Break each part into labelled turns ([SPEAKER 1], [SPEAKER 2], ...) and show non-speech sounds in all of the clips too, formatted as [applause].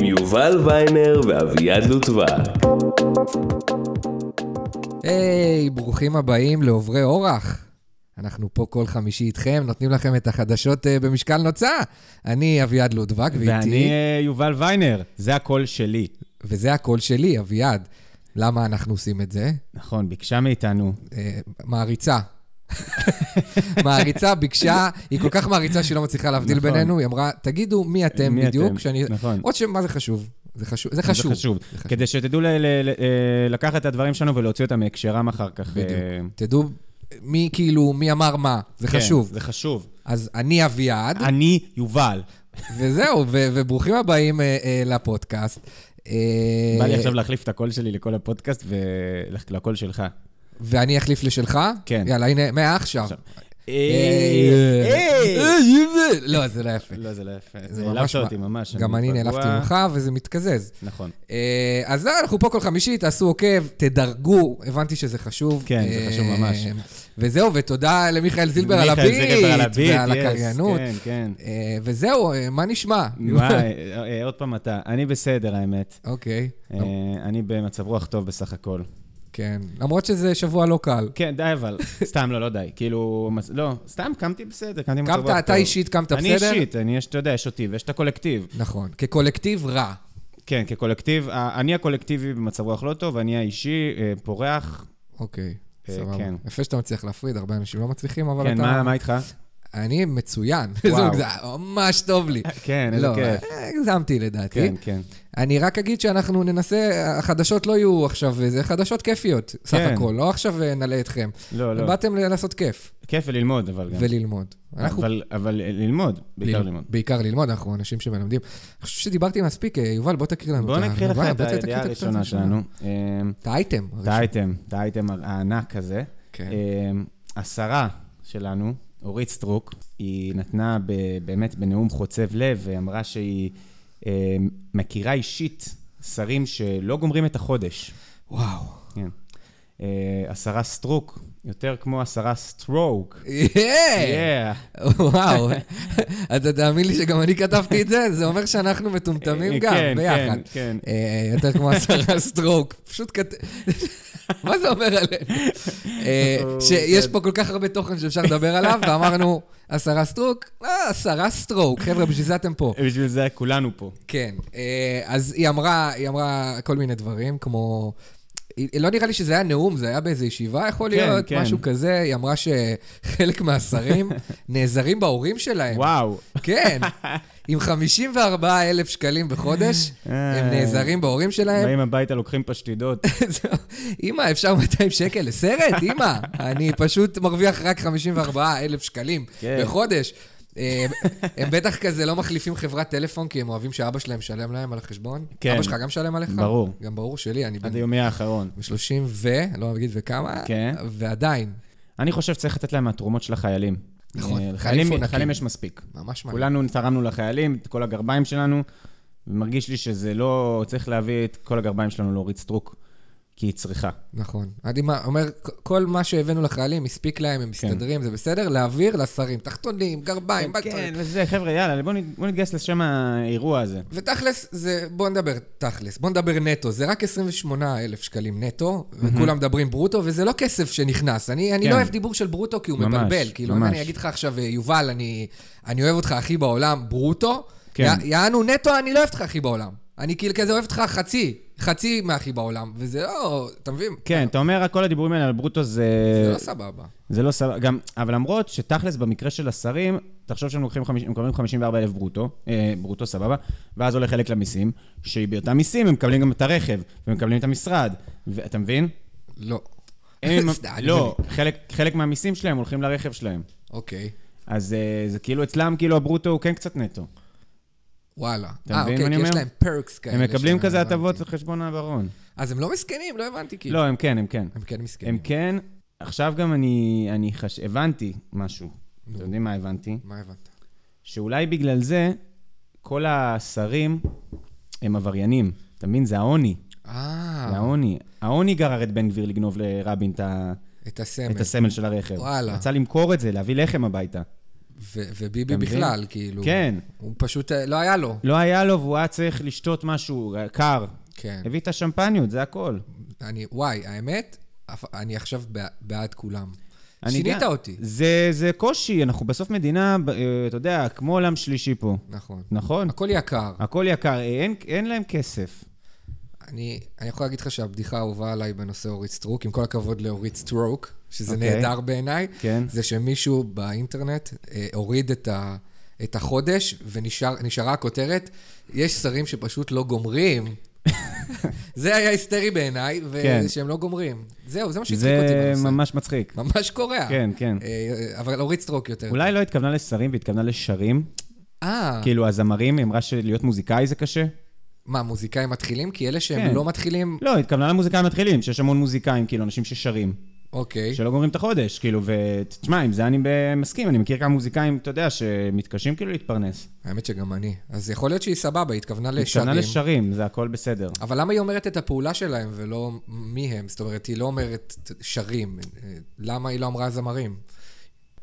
[SPEAKER 1] יובל ויינר ואביעד לוטבק.
[SPEAKER 2] היי, ברוכים הבאים לעוברי אורח. אנחנו פה כל חמישי איתכם, נותנים לכם את החדשות אה, במשקל נוצה. אני אביעד לודבק,
[SPEAKER 3] ואני
[SPEAKER 2] ואיתי,
[SPEAKER 3] אה, יובל ויינר, זה הקול שלי.
[SPEAKER 2] וזה הקול שלי, אביעד. למה אנחנו עושים את זה?
[SPEAKER 3] נכון, ביקשה מאיתנו.
[SPEAKER 2] אה,
[SPEAKER 3] [laughs]
[SPEAKER 2] מעריצה. מעריצה ביקשה, היא כל כך מעריצה שהיא לא מצליחה להבדיל
[SPEAKER 3] נכון.
[SPEAKER 2] בינינו, היא אמרה, תגידו מי אתם
[SPEAKER 3] מי
[SPEAKER 2] בדיוק,
[SPEAKER 3] אתם?"
[SPEAKER 2] שאני...
[SPEAKER 3] נכון.
[SPEAKER 2] עוד שמה זה חשוב? זה חשוב. זה חשוב.
[SPEAKER 3] זה חשוב.
[SPEAKER 2] זה חשוב.
[SPEAKER 3] כדי שתדעו ל- ל- ל- אה, לקחת את הדברים שלנו ולהוציא אותם מהקשרם אחר כך.
[SPEAKER 2] בדיוק.
[SPEAKER 3] אה,
[SPEAKER 2] תדעו מי כאילו, מי אמר מה, זה
[SPEAKER 3] כן,
[SPEAKER 2] חשוב.
[SPEAKER 3] זה חשוב.
[SPEAKER 2] אז אני אביעד,
[SPEAKER 3] אני יובל.
[SPEAKER 2] אה, וזהו, ו- וברוכים הבאים אה, אה, לפודקאסט. אה,
[SPEAKER 3] בא לי עכשיו להחליף את הקול שלי לכל הפודקאסט ולקול שלך.
[SPEAKER 2] אה,
[SPEAKER 3] אה,
[SPEAKER 2] ואני אחליף לשלך?
[SPEAKER 3] כן.
[SPEAKER 2] יאללה, הנה, מעכשיו.
[SPEAKER 3] עכשיו.
[SPEAKER 2] אה,
[SPEAKER 3] אה,
[SPEAKER 2] אה, יובל. לא, זה לא יפה.
[SPEAKER 3] לא, זה לא יפה.
[SPEAKER 2] זה
[SPEAKER 3] זה
[SPEAKER 2] ממש...
[SPEAKER 3] העלבת אותי ממש.
[SPEAKER 2] גם אני
[SPEAKER 3] פגוע.
[SPEAKER 2] נעלבתי ממך, וזה מתקזז.
[SPEAKER 3] נכון.
[SPEAKER 2] אה, אז זהו, אנחנו פה כל חמישי, תעשו עוקב, תדרגו, הבנתי שזה חשוב.
[SPEAKER 3] כן, זה
[SPEAKER 2] אה,
[SPEAKER 3] חשוב ממש.
[SPEAKER 2] וזהו, ותודה למיכאל זילבר על
[SPEAKER 3] מיכאל
[SPEAKER 2] הביט,
[SPEAKER 3] זילבר על הביט,
[SPEAKER 2] ועל
[SPEAKER 3] yes,
[SPEAKER 2] הקריינות.
[SPEAKER 3] כן, כן.
[SPEAKER 2] אה, וזהו, אה, מה נשמע?
[SPEAKER 3] מה, אה, אה, עוד פעם אתה. אני בסדר, האמת.
[SPEAKER 2] אוקיי,
[SPEAKER 3] אה, אני במצב רוח טוב בסך הכל.
[SPEAKER 2] כן. למרות שזה שבוע לא קל.
[SPEAKER 3] כן, די אבל. סתם, לא, לא די. כאילו, מס- לא, סתם קמתי בסדר, קמתי במצב
[SPEAKER 2] קמת,
[SPEAKER 3] רוח טוב.
[SPEAKER 2] אתה אישית קמת בסדר?
[SPEAKER 3] אני אישית, אני, יש, אתה יודע, יש אותי ויש את הקולקטיב.
[SPEAKER 2] נכון. כקולקטיב רע.
[SPEAKER 3] כן, כקולקטיב, ה- אני הקולקטיבי במצב רוח לא טוב, אני האישי אה, פורח.
[SPEAKER 2] אוקיי,
[SPEAKER 3] אה,
[SPEAKER 2] סבבה.
[SPEAKER 3] כן.
[SPEAKER 2] יפה שאתה מצליח להפריד, הרבה אנשים לא מצליחים, אבל
[SPEAKER 3] כן,
[SPEAKER 2] אתה...
[SPEAKER 3] מה, מה איתך?
[SPEAKER 2] אני מצוין. [laughs]
[SPEAKER 3] וואו.
[SPEAKER 2] זה מגז- ממש טוב לי.
[SPEAKER 3] [laughs] כן, איזה
[SPEAKER 2] לא,
[SPEAKER 3] כיף.
[SPEAKER 2] אה, הגזמתי לדעתי.
[SPEAKER 3] כן, כן.
[SPEAKER 2] אני רק אגיד שאנחנו ננסה, החדשות לא יהיו עכשיו, אה, זה חדשות כיפיות, סך
[SPEAKER 3] כן.
[SPEAKER 2] הכל, לא עכשיו אה, נלאה אתכם.
[SPEAKER 3] לא, לא. כן.
[SPEAKER 2] באתם ל- לעשות כיף
[SPEAKER 3] כיף וללמוד, אבל גם.
[SPEAKER 2] וללמוד. אנחנו-
[SPEAKER 3] אבל, אבל ללמוד, בעיקר
[SPEAKER 2] ל-
[SPEAKER 3] ללמוד.
[SPEAKER 2] בעיקר ללמוד, אנחנו אנשים שמלמדים. אני חושב שדיברתי מספיק, אה, יובל, בוא תקריא לנו
[SPEAKER 3] בוא
[SPEAKER 2] את ה-
[SPEAKER 3] נקריא לך
[SPEAKER 2] בוא,
[SPEAKER 3] את
[SPEAKER 2] בוא תקריא
[SPEAKER 3] הידיעה
[SPEAKER 2] הקטע
[SPEAKER 3] הראשונה
[SPEAKER 2] הזה.
[SPEAKER 3] שלנו. אה,
[SPEAKER 2] את האייטם.
[SPEAKER 3] את האייטם, את האייטם הענק הזה.
[SPEAKER 2] כן.
[SPEAKER 3] אמ, השרה שלנו, אורית סטרוק, היא נתנה ב, באמת בנאום חוצב לב, ואמרה שהיא אמ, מכירה אישית שרים שלא גומרים את החודש.
[SPEAKER 2] וואו.
[SPEAKER 3] כן. אה, השרה סטרוק, יותר כמו השרה סטרוק.
[SPEAKER 2] יאה!
[SPEAKER 3] Yeah.
[SPEAKER 2] [laughs]
[SPEAKER 3] [laughs]
[SPEAKER 2] וואו, אתה תאמין לי שגם אני כתבתי את זה? זה אומר שאנחנו
[SPEAKER 3] אה,
[SPEAKER 2] מטומטמים גם,
[SPEAKER 3] כן,
[SPEAKER 2] ביחד.
[SPEAKER 3] כן, כן.
[SPEAKER 2] אה, יותר כמו
[SPEAKER 3] [laughs]
[SPEAKER 2] השרה סטרוק, פשוט כת... [laughs] מה זה אומר עלינו? אה,
[SPEAKER 3] כן.
[SPEAKER 2] שיש פה כל כך הרבה תוכן שאפשר לדבר עליו, ואמרנו, השרה סטרוק? אה, השרה סטרוק. חבר'ה, בשביל זה אתם פה.
[SPEAKER 3] בשביל זה כולנו פה.
[SPEAKER 2] כן, אה, אז היא אמרה, היא אמרה כל מיני דברים, כמו... היא- לא נראה לי שזה היה נאום, זה היה באיזו ישיבה, יכול
[SPEAKER 3] כן,
[SPEAKER 2] להיות,
[SPEAKER 3] כן.
[SPEAKER 2] משהו כזה. היא אמרה שחלק
[SPEAKER 3] [laughs]
[SPEAKER 2] מהשרים נעזרים בהורים שלהם.
[SPEAKER 3] וואו. [laughs]
[SPEAKER 2] כן, עם 54 אלף שקלים בחודש,
[SPEAKER 3] אה.
[SPEAKER 2] הם נעזרים בהורים שלהם.
[SPEAKER 3] באים הביתה, לוקחים פשטידות.
[SPEAKER 2] אמא, אפשר 200 שקל לסרט? אמא, אני פשוט מרוויח רק 54 אלף שקלים
[SPEAKER 3] כן.
[SPEAKER 2] בחודש. אה, הם בטח כזה לא מחליפים חברת טלפון, כי הם אוהבים שאבא שלהם משלם להם על החשבון.
[SPEAKER 3] כן.
[SPEAKER 2] אבא שלך גם משלם עליך?
[SPEAKER 3] ברור.
[SPEAKER 2] גם ברור שלי, אני בן
[SPEAKER 3] עד היומי האחרון.
[SPEAKER 2] 30 ו... לא אגיד וכמה.
[SPEAKER 3] כן.
[SPEAKER 2] ועדיין,
[SPEAKER 3] אני חושב שצריך לתת להם מהתרומות של החיילים.
[SPEAKER 2] נכון,
[SPEAKER 3] אה,
[SPEAKER 2] חיילים
[SPEAKER 3] לחיילים
[SPEAKER 2] מפונקים.
[SPEAKER 3] לחיילים יש מספיק.
[SPEAKER 2] ממש מעניין.
[SPEAKER 3] כולנו תרמנו לחיילים, את כל הגרביים שלנו, ומרגיש לי שזה לא... צריך להביא את כל הגרביים שלנו לאורית סטרוק, כי היא צריכה.
[SPEAKER 2] נכון. אני מה- אומר, כ- כל מה שהבאנו לחיילים הספיק להם, הם מסתדרים, זה בסדר, להעביר לשרים, תחתונים, גרביים,
[SPEAKER 3] כן,
[SPEAKER 2] בלטונים.
[SPEAKER 3] וזה, חבר'ה, יאללה, בואו נ- בואו נתגייס לשם האירוע הזה.
[SPEAKER 2] ותכלס, זה, בוא נדבר תכלס, בוא נדבר נטו, זה רק 28 אלף שקלים נטו, וכולם מדברים ברוטו, וזה לא כסף שנכנס. אני, אני
[SPEAKER 3] כן.
[SPEAKER 2] לא אוהב דיבור של ברוטו כי הוא
[SPEAKER 3] ממש,
[SPEAKER 2] מבלבל. כאילו, אם
[SPEAKER 3] ממש.
[SPEAKER 2] אני אגיד לך עכשיו, אה, יובל, אני, אני אוהב אותך הכי בעולם, ברוטו,
[SPEAKER 3] כן.
[SPEAKER 2] יא- יענו נטו, אני לא אוהב אותך הכי בעולם. אני כאילו כזה אוהב אותך חצי, חצי מהכי בעולם, וזה לא, אתה מבין?
[SPEAKER 3] כן, אתה אומר, כל הדיבורים האלה על ברוטו
[SPEAKER 2] זה
[SPEAKER 3] זה...
[SPEAKER 2] לא סבבה.
[SPEAKER 3] זה לא סבבה, גם, אבל למרות שתכלס במקרה של השרים, תחשוב שהם לוקחים, חמיש- הם מקבלים 54 אלף ברוטו, אה, ברוטו סבבה, ואז הולך חלק למיסים, שבאותם מיסים הם מקבלים גם את הרכב, ומקבלים את המשרד, ואתה מבין?
[SPEAKER 2] לא. [laughs]
[SPEAKER 3] הם,
[SPEAKER 2] סתם, אני
[SPEAKER 3] לא, חלק, חלק מהמיסים שלהם הולכים לרכב שלהם.
[SPEAKER 2] אוקיי,
[SPEAKER 3] אז אה, זה כאילו אצלם, כאילו הברוטו הוא כן קצת נטו.
[SPEAKER 2] וואלה.
[SPEAKER 3] אתה
[SPEAKER 2] אה,
[SPEAKER 3] מבין
[SPEAKER 2] אוקיי,
[SPEAKER 3] מה
[SPEAKER 2] כי
[SPEAKER 3] אני
[SPEAKER 2] יש
[SPEAKER 3] אומר?
[SPEAKER 2] להם פרקס כאלה.
[SPEAKER 3] הם מקבלים
[SPEAKER 2] של-
[SPEAKER 3] כזה
[SPEAKER 2] הבנתי.
[SPEAKER 3] הטבות על חשבון העברון.
[SPEAKER 2] אז הם לא מסכנים, לא הבנתי, כאילו.
[SPEAKER 3] לא, הם כן, הם כן.
[SPEAKER 2] הם כן מסכנים.
[SPEAKER 3] הם כן, עכשיו גם אני, אני חש... הבנתי משהו. אתם יודעים מה הבנתי?
[SPEAKER 2] מה הבנת?
[SPEAKER 3] שאולי בגלל זה כל השרים הם עבריינים. אתה מבין? זה העוני. זה
[SPEAKER 2] אה,
[SPEAKER 3] העוני. העוני גרר את בן גביר לגנוב לרבין את ה-
[SPEAKER 2] את הסמל.
[SPEAKER 3] את הסמל של הרכב.
[SPEAKER 2] וואלה.
[SPEAKER 3] רצה למכור את זה, להביא לחם הביתה.
[SPEAKER 2] ו- וביבי
[SPEAKER 3] אתה מבין?
[SPEAKER 2] בכלל, כאילו.
[SPEAKER 3] כן.
[SPEAKER 2] הוא פשוט, אה, לא היה לו.
[SPEAKER 3] לא היה לו והוא היה צריך לשתות משהו אה, קר.
[SPEAKER 2] כן.
[SPEAKER 3] הביא את השמפניות, זה הכל.
[SPEAKER 2] אני, וואי, האמת, אף- אני עכשיו בע- בעד כולם.
[SPEAKER 3] אני
[SPEAKER 2] שינית
[SPEAKER 3] גם-
[SPEAKER 2] אותי.
[SPEAKER 3] זה, זה קושי, אנחנו בסוף מדינה, ב- אה, אתה יודע, כמו עולם שלישי פה.
[SPEAKER 2] נכון.
[SPEAKER 3] נכון?
[SPEAKER 2] הכל יקר.
[SPEAKER 3] הכל יקר, אה, אין, אין להם כסף.
[SPEAKER 2] אני, אני יכול להגיד לך שהבדיחה האהובה עליי בנושא אורית סטרוק, עם כל הכבוד לאורית סטרוק, שזה okay.
[SPEAKER 3] אוקיי.
[SPEAKER 2] נהדר בעיניי,
[SPEAKER 3] כן.
[SPEAKER 2] זה שמישהו באינטרנט אה, הוריד את, ה, את החודש ונשארה הכותרת, יש שרים שפשוט לא
[SPEAKER 3] [laughs]
[SPEAKER 2] גומרים. זה היה היסטרי בעיניי, ו-
[SPEAKER 3] כן.
[SPEAKER 2] שהם לא גומרים. זהו, זה מה שהצחיק אותי
[SPEAKER 3] זה
[SPEAKER 2] בנושא.
[SPEAKER 3] ממש מצחיק.
[SPEAKER 2] ממש קורע.
[SPEAKER 3] כן, כן.
[SPEAKER 2] אה, אבל אורית סטרוק יותר.
[SPEAKER 3] אולי לא התכוונה לשרים והתכוונה לשרים.
[SPEAKER 2] אה,
[SPEAKER 3] כאילו, הזמרים, היא אמרה שלהיות מוזיקאי זה קשה.
[SPEAKER 2] מה, מוזיקאים מתחילים? כי אלה שהם
[SPEAKER 3] כן.
[SPEAKER 2] לא מתחילים,
[SPEAKER 3] לא, היא התכוונה למוזיקאים מתחילים, שיש המון מוזיקאים, כאילו, אנשים ששרים,
[SPEAKER 2] אוקיי.
[SPEAKER 3] שלא גומרים את החודש, כאילו, ותשמע, עם זה אני ב- מסכים, אני מכיר כמה מוזיקאים, אתה יודע, שמתקשים כאילו להתפרנס.
[SPEAKER 2] האמת שגם אני. אז יכול להיות שהיא סבבה, היא התכוונה לשרים.
[SPEAKER 3] התכוונה לשרים, זה הכל בסדר.
[SPEAKER 2] אבל למה היא אומרת את הפעולה שלהם ולא מי הם? זאת אומרת, היא לא אומרת שרים. אה, למה היא לא אמרה זמרים?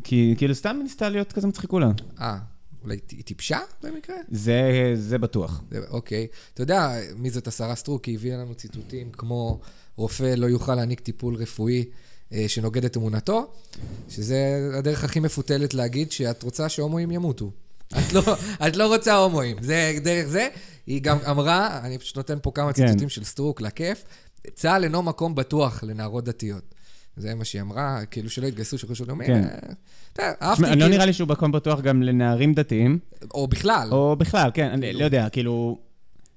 [SPEAKER 3] כי כאילו, סתם ניסתה להיות כזה מצחיק כולה.
[SPEAKER 2] אה, אולי ט- היא טיפשה במקרה?
[SPEAKER 3] זה, זה בטוח.
[SPEAKER 2] זה- אוקיי. אתה יודע מי זאת השרה סטרוק? היא הביאה לנו ציטוטים כמו רופא לא יוכל להעניק טיפול רפואי אה, שנוגד את אמונתו, שזה הדרך הכי מפותלת להגיד שאת רוצה שהומואים ימותו. את לא, [laughs] את לא רוצה הומואים, זה דרך זה. היא גם אמרה, אני פשוט נותן פה כמה
[SPEAKER 3] כן.
[SPEAKER 2] ציטוטים של סטרוק לכיף, צה"ל אינו מקום בטוח לנערות דתיות. זה מה שהיא אמרה, כאילו שלא יתגייסו של חשוב לאומי.
[SPEAKER 3] כן.
[SPEAKER 2] אה, אתה יודע, אהבתי,
[SPEAKER 3] תשמע, לא
[SPEAKER 2] כאילו,
[SPEAKER 3] נראה לי שהוא מקום בטוח גם לנערים דתיים,
[SPEAKER 2] או בכלל.
[SPEAKER 3] או בכלל, כן, אני לא יודע, כאילו,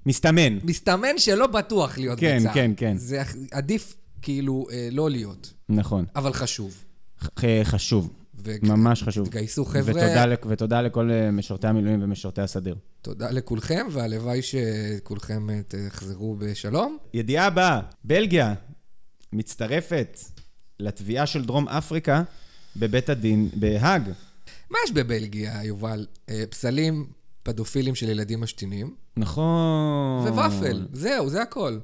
[SPEAKER 3] מסתמן.
[SPEAKER 2] מסתמן שלא בטוח להיות
[SPEAKER 3] כן,
[SPEAKER 2] בצה"ל.
[SPEAKER 3] כן, כן.
[SPEAKER 2] זה הכ- עדיף כאילו אה, לא להיות,
[SPEAKER 3] נכון.
[SPEAKER 2] אבל חשוב.
[SPEAKER 3] ח- חשוב,
[SPEAKER 2] ו-
[SPEAKER 3] ממש חשוב.
[SPEAKER 2] תתגייסו, חבר'ה.
[SPEAKER 3] ותודה לכ- ותודה לכל אה, משרתי המילואים ומשרתי הסדיר.
[SPEAKER 2] תודה לכולכם, והלוואי שכולכם אה, תחזרו בשלום.
[SPEAKER 3] ידיעה הבאה, בלגיה מצטרפת לתביעה של דרום אפריקה בבית הדין בהאג.
[SPEAKER 2] מה יש בבלגיה, יובל? אה, פסלים פדופילים של ילדים משתינים,
[SPEAKER 3] נכון.
[SPEAKER 2] וופל, זהו, זה הכל.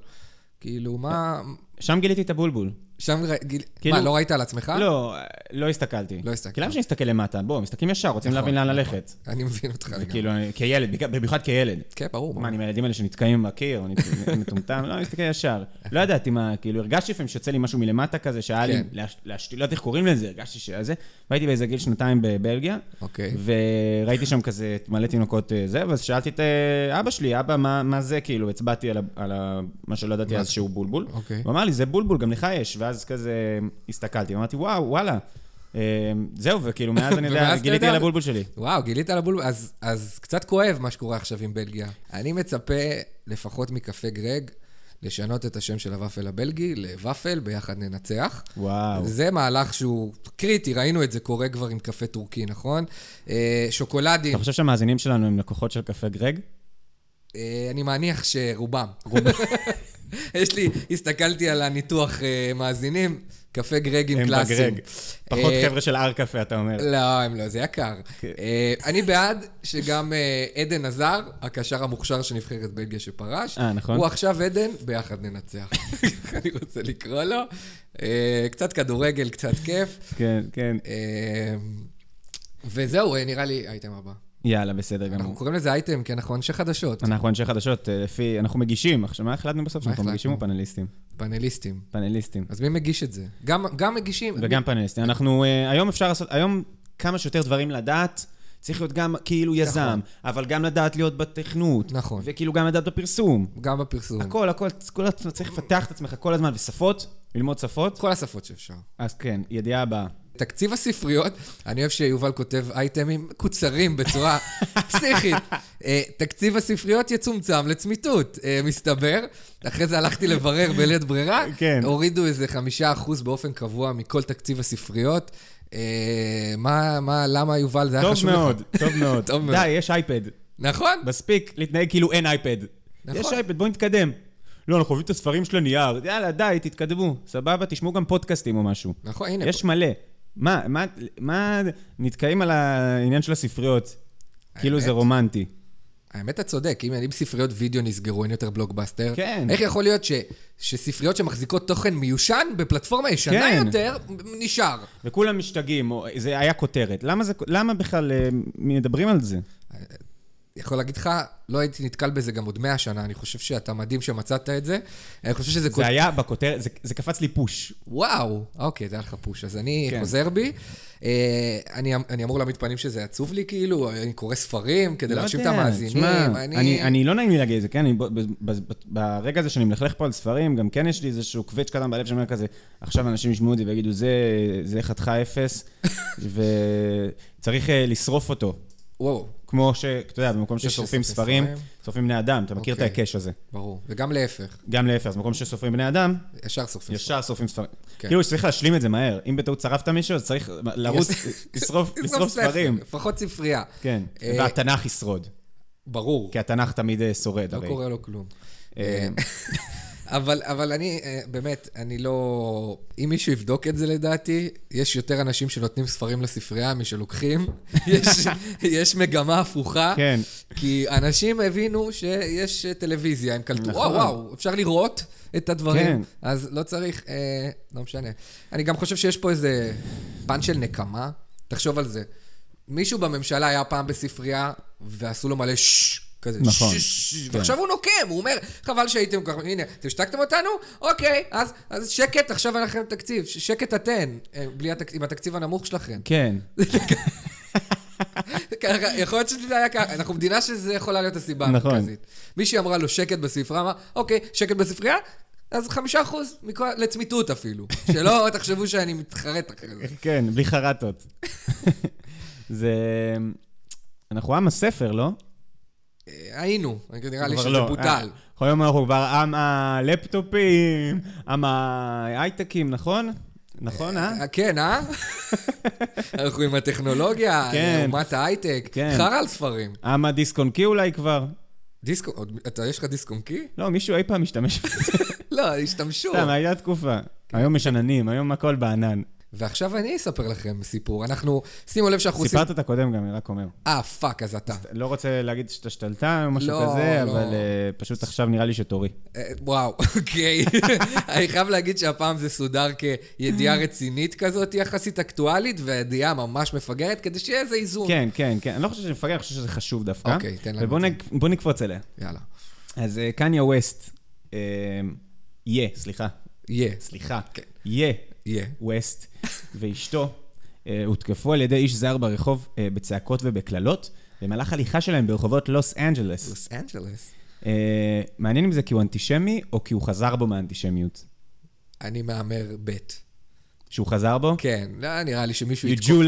[SPEAKER 2] כאילו, מה...
[SPEAKER 3] שם גיליתי את הבולבול.
[SPEAKER 2] שם... ר- גיל-
[SPEAKER 3] אה. כאילו-
[SPEAKER 2] מה, לא ראית על עצמך?
[SPEAKER 3] לא, לא הסתכלתי.
[SPEAKER 2] לא הסתכלת.
[SPEAKER 3] כי למה שנסתכל למטה? בואו, מסתכלים ישר, רוצים להבין לאן ללכת.
[SPEAKER 2] אני מבין אותך לגמרי.
[SPEAKER 3] כאילו, אני- כילד, בעיקר- במיוחד כילד.
[SPEAKER 2] כן, ברור.
[SPEAKER 3] מה, אני מהילדים האלה שנתקעים בקיר, אני [laughs] אני מטומטם? לא, אני מסתכל ישר. לא ידעתי מה, כאילו, הרגשתי לפעמים שיוצא לי משהו מלמטה כזה, שהיה לי,
[SPEAKER 2] כן.
[SPEAKER 3] להש- להשתיל, לא יודעת איך קוראים לזה, הרגשתי שהיה זה. והייתי באיזה גיל שנתיים בבלגיה,
[SPEAKER 2] אוקיי.
[SPEAKER 3] וראיתי שם כזה מלא תינוקות אה, זה, ואז שאלתי את אה, אבא שלי, אבא, מה מה זה? כאילו, הצבעתי על ה- על ה- מה שלא ידעתי אז שהוא בולבול.
[SPEAKER 2] אוקיי.
[SPEAKER 3] הוא אמר לי, זה בולבול, גם לך יש. ואז כזה הסתכלתי, ואמרתי, וואו, וואלה. אה, זהו, וכאילו,
[SPEAKER 2] [laughs]
[SPEAKER 3] מאז אני
[SPEAKER 2] ומאז
[SPEAKER 3] יודע,
[SPEAKER 2] אתה
[SPEAKER 3] גיליתי
[SPEAKER 2] יודע-
[SPEAKER 3] על הבולבול שלי.
[SPEAKER 2] וואו, גילית על הבולבול, אז, אז קצת כואב מה שקורה עכשיו עם בלגיה. אני מצפה, לפחות מקפה גרג, לשנות את השם של הוואפל הבלגי לוואפל, ביחד ננצח.
[SPEAKER 3] וואו.
[SPEAKER 2] זה מהלך שהוא קריטי, ראינו את זה קורה כבר עם קפה טורקי, נכון? אה, שוקולדים,
[SPEAKER 3] אתה חושב שהמאזינים שלנו הם לקוחות של קפה גרג?
[SPEAKER 2] אה, אני מניח שרובם. [laughs] יש לי, הסתכלתי על הניתוח אה, מאזינים, קפה גרגים
[SPEAKER 3] הם
[SPEAKER 2] קלאסיים.
[SPEAKER 3] בגרג. פחות
[SPEAKER 2] אה,
[SPEAKER 3] חבר'ה של הר קפה, אתה אומר.
[SPEAKER 2] [laughs] לא, הם לא, זה יקר.
[SPEAKER 3] כן.
[SPEAKER 2] אה, אני בעד שגם אה, עדן עזר, הקשר המוכשר של נבחרת בלגיה שפרש,
[SPEAKER 3] אה, נכון.
[SPEAKER 2] הוא עכשיו עדן, ביחד ננצח. [laughs] אני רוצה לקרוא לו. אה, קצת כדורגל, קצת כיף.
[SPEAKER 3] כן, כן.
[SPEAKER 2] אה, וזהו, אה, נראה לי האייטם הבא.
[SPEAKER 3] יאללה, בסדר
[SPEAKER 2] אנחנו
[SPEAKER 3] גמור.
[SPEAKER 2] קוראים לזה אייטם, כי אנחנו אנשי חדשות,
[SPEAKER 3] אנחנו אנשי חדשות, אה, לפי... אנחנו מגישים. עכשיו, מה החלטנו בסוף? שאנחנו
[SPEAKER 2] החלטנו? אה,
[SPEAKER 3] מגישים או פאנליסטים?
[SPEAKER 2] פאנליסטים.
[SPEAKER 3] פאנליסטים.
[SPEAKER 2] אז מי מגיש את זה? גם גם מגישים.
[SPEAKER 3] וגם פאנליסטים. אנחנו... אה, היום אפשר לעשות... היום כמה שיותר דברים לדעת. צריך להיות גם כאילו יזם, אבל גם לדעת להיות בתכנות.
[SPEAKER 2] נכון.
[SPEAKER 3] וכאילו גם לדעת בפרסום.
[SPEAKER 2] גם בפרסום.
[SPEAKER 3] הכל, הכל, כל הזמן צריך לפתח את עצמך כל הזמן, ושפות, ללמוד שפות.
[SPEAKER 2] כל השפות שאפשר.
[SPEAKER 3] אז כן, ידיעה הבאה.
[SPEAKER 2] תקציב הספריות, אני אוהב שיובל כותב אייטמים מקוצרים
[SPEAKER 3] [laughs]
[SPEAKER 2] בצורה פסיכית. אה, תקציב הספריות יצומצם לצמיתות, אה, מסתבר. אחרי זה הלכתי לברר בלית ברירה.
[SPEAKER 3] כן.
[SPEAKER 2] הורידו איזה חמישה אחוז באופן קבוע מכל תקציב הספריות. אה, מה, מה, למה יובל זה היה
[SPEAKER 3] טוב
[SPEAKER 2] חשוב לך?
[SPEAKER 3] מאוד, טוב מאוד.
[SPEAKER 2] [laughs] טוב מאוד.
[SPEAKER 3] די, יש אייפד.
[SPEAKER 2] נכון?
[SPEAKER 3] מספיק להתנהג כאילו אין אייפד.
[SPEAKER 2] נכון.
[SPEAKER 3] יש אייפד, בואו נתקדם. לא, אנחנו אוהבים את הספרים של הנייר. יאללה, די, תתקדמו. סבבה, תשמעו גם פודקאסטים או משהו.
[SPEAKER 2] נכון, הנה.
[SPEAKER 3] יש מלא. מה, מה, מה, נתקעים על העניין של הספריות. כאילו זה רומנטי.
[SPEAKER 2] האמת, אתה צודק, אם, אם ספריות וידאו נסגרו, אין יותר בלוקבאסטר.
[SPEAKER 3] כן.
[SPEAKER 2] איך יכול להיות ש, שספריות שמחזיקות תוכן מיושן בפלטפורמה ישנה
[SPEAKER 3] כן.
[SPEAKER 2] יותר, נשאר?
[SPEAKER 3] וכולם משתגעים, או- זה היה כותרת. למה, זה, למה בכלל אה, מדברים על זה?
[SPEAKER 2] יכול להגיד לך, לא הייתי נתקל בזה גם עוד מאה שנה, אני חושב שאתה מדהים שמצאת את זה. אני חושב שזה... כל-
[SPEAKER 3] זה היה בכותרת, זה, זה קפץ לי פוש.
[SPEAKER 2] וואו, אוקיי, זה היה לך פוש, אז אני
[SPEAKER 3] כן.
[SPEAKER 2] חוזר בי. אה, אני, אני אמור להעמיד פנים שזה עצוב לי, כאילו, אני קורא ספרים כדי להרשים את המאזינים.
[SPEAKER 3] שמע, אני... לא אני, אני לא נעים לי להגיד את זה, כן? אני, ב, ב, ב, ב, ברגע הזה שאני מלכלך פה על ספרים, גם כן יש לי איזשהו קווץ' קטן בלב שאומר כזה, עכשיו אנשים ישמעו את זה ויגידו, זה, זה
[SPEAKER 2] [laughs]
[SPEAKER 3] חתיכה אפס, וצריך אה, לשרוף אותו.
[SPEAKER 2] וואו,
[SPEAKER 3] כמו ש... אתה יודע, במקום
[SPEAKER 2] יש ששורפים
[SPEAKER 3] ששורפים ספרים,
[SPEAKER 2] ספרים.
[SPEAKER 3] שורפים בני אדם, אתה מכיר את
[SPEAKER 2] אוקיי.
[SPEAKER 3] ההיקש הזה.
[SPEAKER 2] ברור. וגם להפך,
[SPEAKER 3] גם להפך, אז במקום ששורפים בני אדם,
[SPEAKER 2] ישר סופרים.
[SPEAKER 3] ישר שורפים ספרים.
[SPEAKER 2] כן.
[SPEAKER 3] כאילו שצריך להשלים את זה מהר. אם בטעות שרפת מישהו, אז צריך
[SPEAKER 2] [laughs]
[SPEAKER 3] לרוץ, לשרוף לשרוף ספרים.
[SPEAKER 2] לפחות ספרייה.
[SPEAKER 3] כן,
[SPEAKER 2] אה,
[SPEAKER 3] והתנ"ך ישרוד,
[SPEAKER 2] ברור.
[SPEAKER 3] כי התנ"ך תמיד אה, שורד
[SPEAKER 2] לא
[SPEAKER 3] הרי.
[SPEAKER 2] קורה לו כלום.
[SPEAKER 3] אה,
[SPEAKER 2] אבל, אבל אני, אה, באמת, אני לא... אם מישהו יבדוק את זה לדעתי, יש יותר אנשים שנותנים ספרים לספרייה
[SPEAKER 3] [laughs]
[SPEAKER 2] משלוקחים. יש, יש מגמה הפוכה.
[SPEAKER 3] כן.
[SPEAKER 2] כי אנשים הבינו שיש אה, טלוויזיה, הם קלטו, וואו, וואו, אפשר לראות את הדברים.
[SPEAKER 3] נכון. כן.
[SPEAKER 2] אז לא צריך, אה, לא משנה. אני גם חושב שיש פה איזה פן של נקמה. תחשוב על זה. מישהו בממשלה היה פעם בספרייה, ועשו לו מלא ששש, כזה
[SPEAKER 3] נכון.
[SPEAKER 2] ששש,
[SPEAKER 3] כן.
[SPEAKER 2] ועכשיו הוא נוקם, הוא אומר, חבל שהייתם ככה, הנה, אתם השתקתם אותנו? אוקיי, אז, אז שקט, עכשיו אין לכם תקציב, ש- שקט אתן, אה, בלי התק... עם התקציב הנמוך שלכם.
[SPEAKER 3] כן.
[SPEAKER 2] ככה, יכול להיות שזה היה ככה, אנחנו מדינה שזה יכולה להיות הסיבה
[SPEAKER 3] נכון.
[SPEAKER 2] המרכזית. מישהי אמרה לו שקט בספרייה, אמר, אוקיי, שקט בספרייה? אז חמישה אחוז, מכל- לצמיתות
[SPEAKER 3] [laughs]
[SPEAKER 2] אפילו. שלא תחשבו שאני מתחרט אחרי זה.
[SPEAKER 3] כן, בלי חרטות. זה... אנחנו עם הספר, לא?
[SPEAKER 2] אה, היינו, נראה לי
[SPEAKER 3] כבר
[SPEAKER 2] שזה
[SPEAKER 3] לא.
[SPEAKER 2] בוטל.
[SPEAKER 3] אה, היום אנחנו כבר עם הלפטופים, עם ההייטקים, נכון? נכון, אה?
[SPEAKER 2] אה, כן,
[SPEAKER 3] [laughs]
[SPEAKER 2] אה? אנחנו עם הטכנולוגיה,
[SPEAKER 3] כן.
[SPEAKER 2] אומת ההייטק.
[SPEAKER 3] כן.
[SPEAKER 2] חרא על ספרים.
[SPEAKER 3] עם הדיסק-און-קי אולי כבר?
[SPEAKER 2] דיסקו, עוד- אתה, יש לך דיסק-און-קי?
[SPEAKER 3] לא, מישהו אי פעם משתמש בזה.
[SPEAKER 2] [laughs] לא, כן. השתמשו.
[SPEAKER 3] סתם, אה. הייתה תקופה. היום יש עננים, היום הכל בענן.
[SPEAKER 2] ועכשיו אני אספר לכם סיפור. אנחנו, שימו לב שאנחנו עושים...
[SPEAKER 3] סיפרת את הקודם גם, אני רק אומר.
[SPEAKER 2] אה, פאק, אז אתה.
[SPEAKER 3] לא רוצה להגיד שאתה שתלטן או משהו
[SPEAKER 2] לא,
[SPEAKER 3] כזה,
[SPEAKER 2] לא.
[SPEAKER 3] אבל אה, פשוט עכשיו נראה לי שתורי.
[SPEAKER 2] אה, וואו, [laughs] אוקיי. אני חייב להגיד שהפעם זה סודר
[SPEAKER 3] [laughs]
[SPEAKER 2] כידיעה רצינית כזאת, יחסית אקטואלית, והידיעה ממש מפגרת, כדי שיהיה איזה איזון.
[SPEAKER 3] כן, כן, כן. אני לא חושב שזה מפגר, אני חושב שזה חשוב דווקא.
[SPEAKER 2] אוקיי, תן לנו
[SPEAKER 3] ובוא
[SPEAKER 2] את זה.
[SPEAKER 3] נק- בוא נקפוץ אליה.
[SPEAKER 2] יאללה.
[SPEAKER 3] אז אה, קניה ווסט, אה, יה, סליחה,
[SPEAKER 2] יהיה,
[SPEAKER 3] סליחה,
[SPEAKER 2] כן.
[SPEAKER 3] יה
[SPEAKER 2] יהיה.
[SPEAKER 3] ווסט ואשתו אה, הותקפו על ידי איש זר ברחוב אה, בצעקות ובקללות, במהלך הליכה שלהם ברחובות לוס אנג'לס.
[SPEAKER 2] לוס אנג'לס.
[SPEAKER 3] אה, מעניין אם זה כי הוא אנטישמי או כי הוא חזר בו מהאנטישמיות.
[SPEAKER 2] אני מהמר בית.
[SPEAKER 3] שהוא חזר בו?
[SPEAKER 2] כן, לא נראה לי שמישהו
[SPEAKER 3] You Jew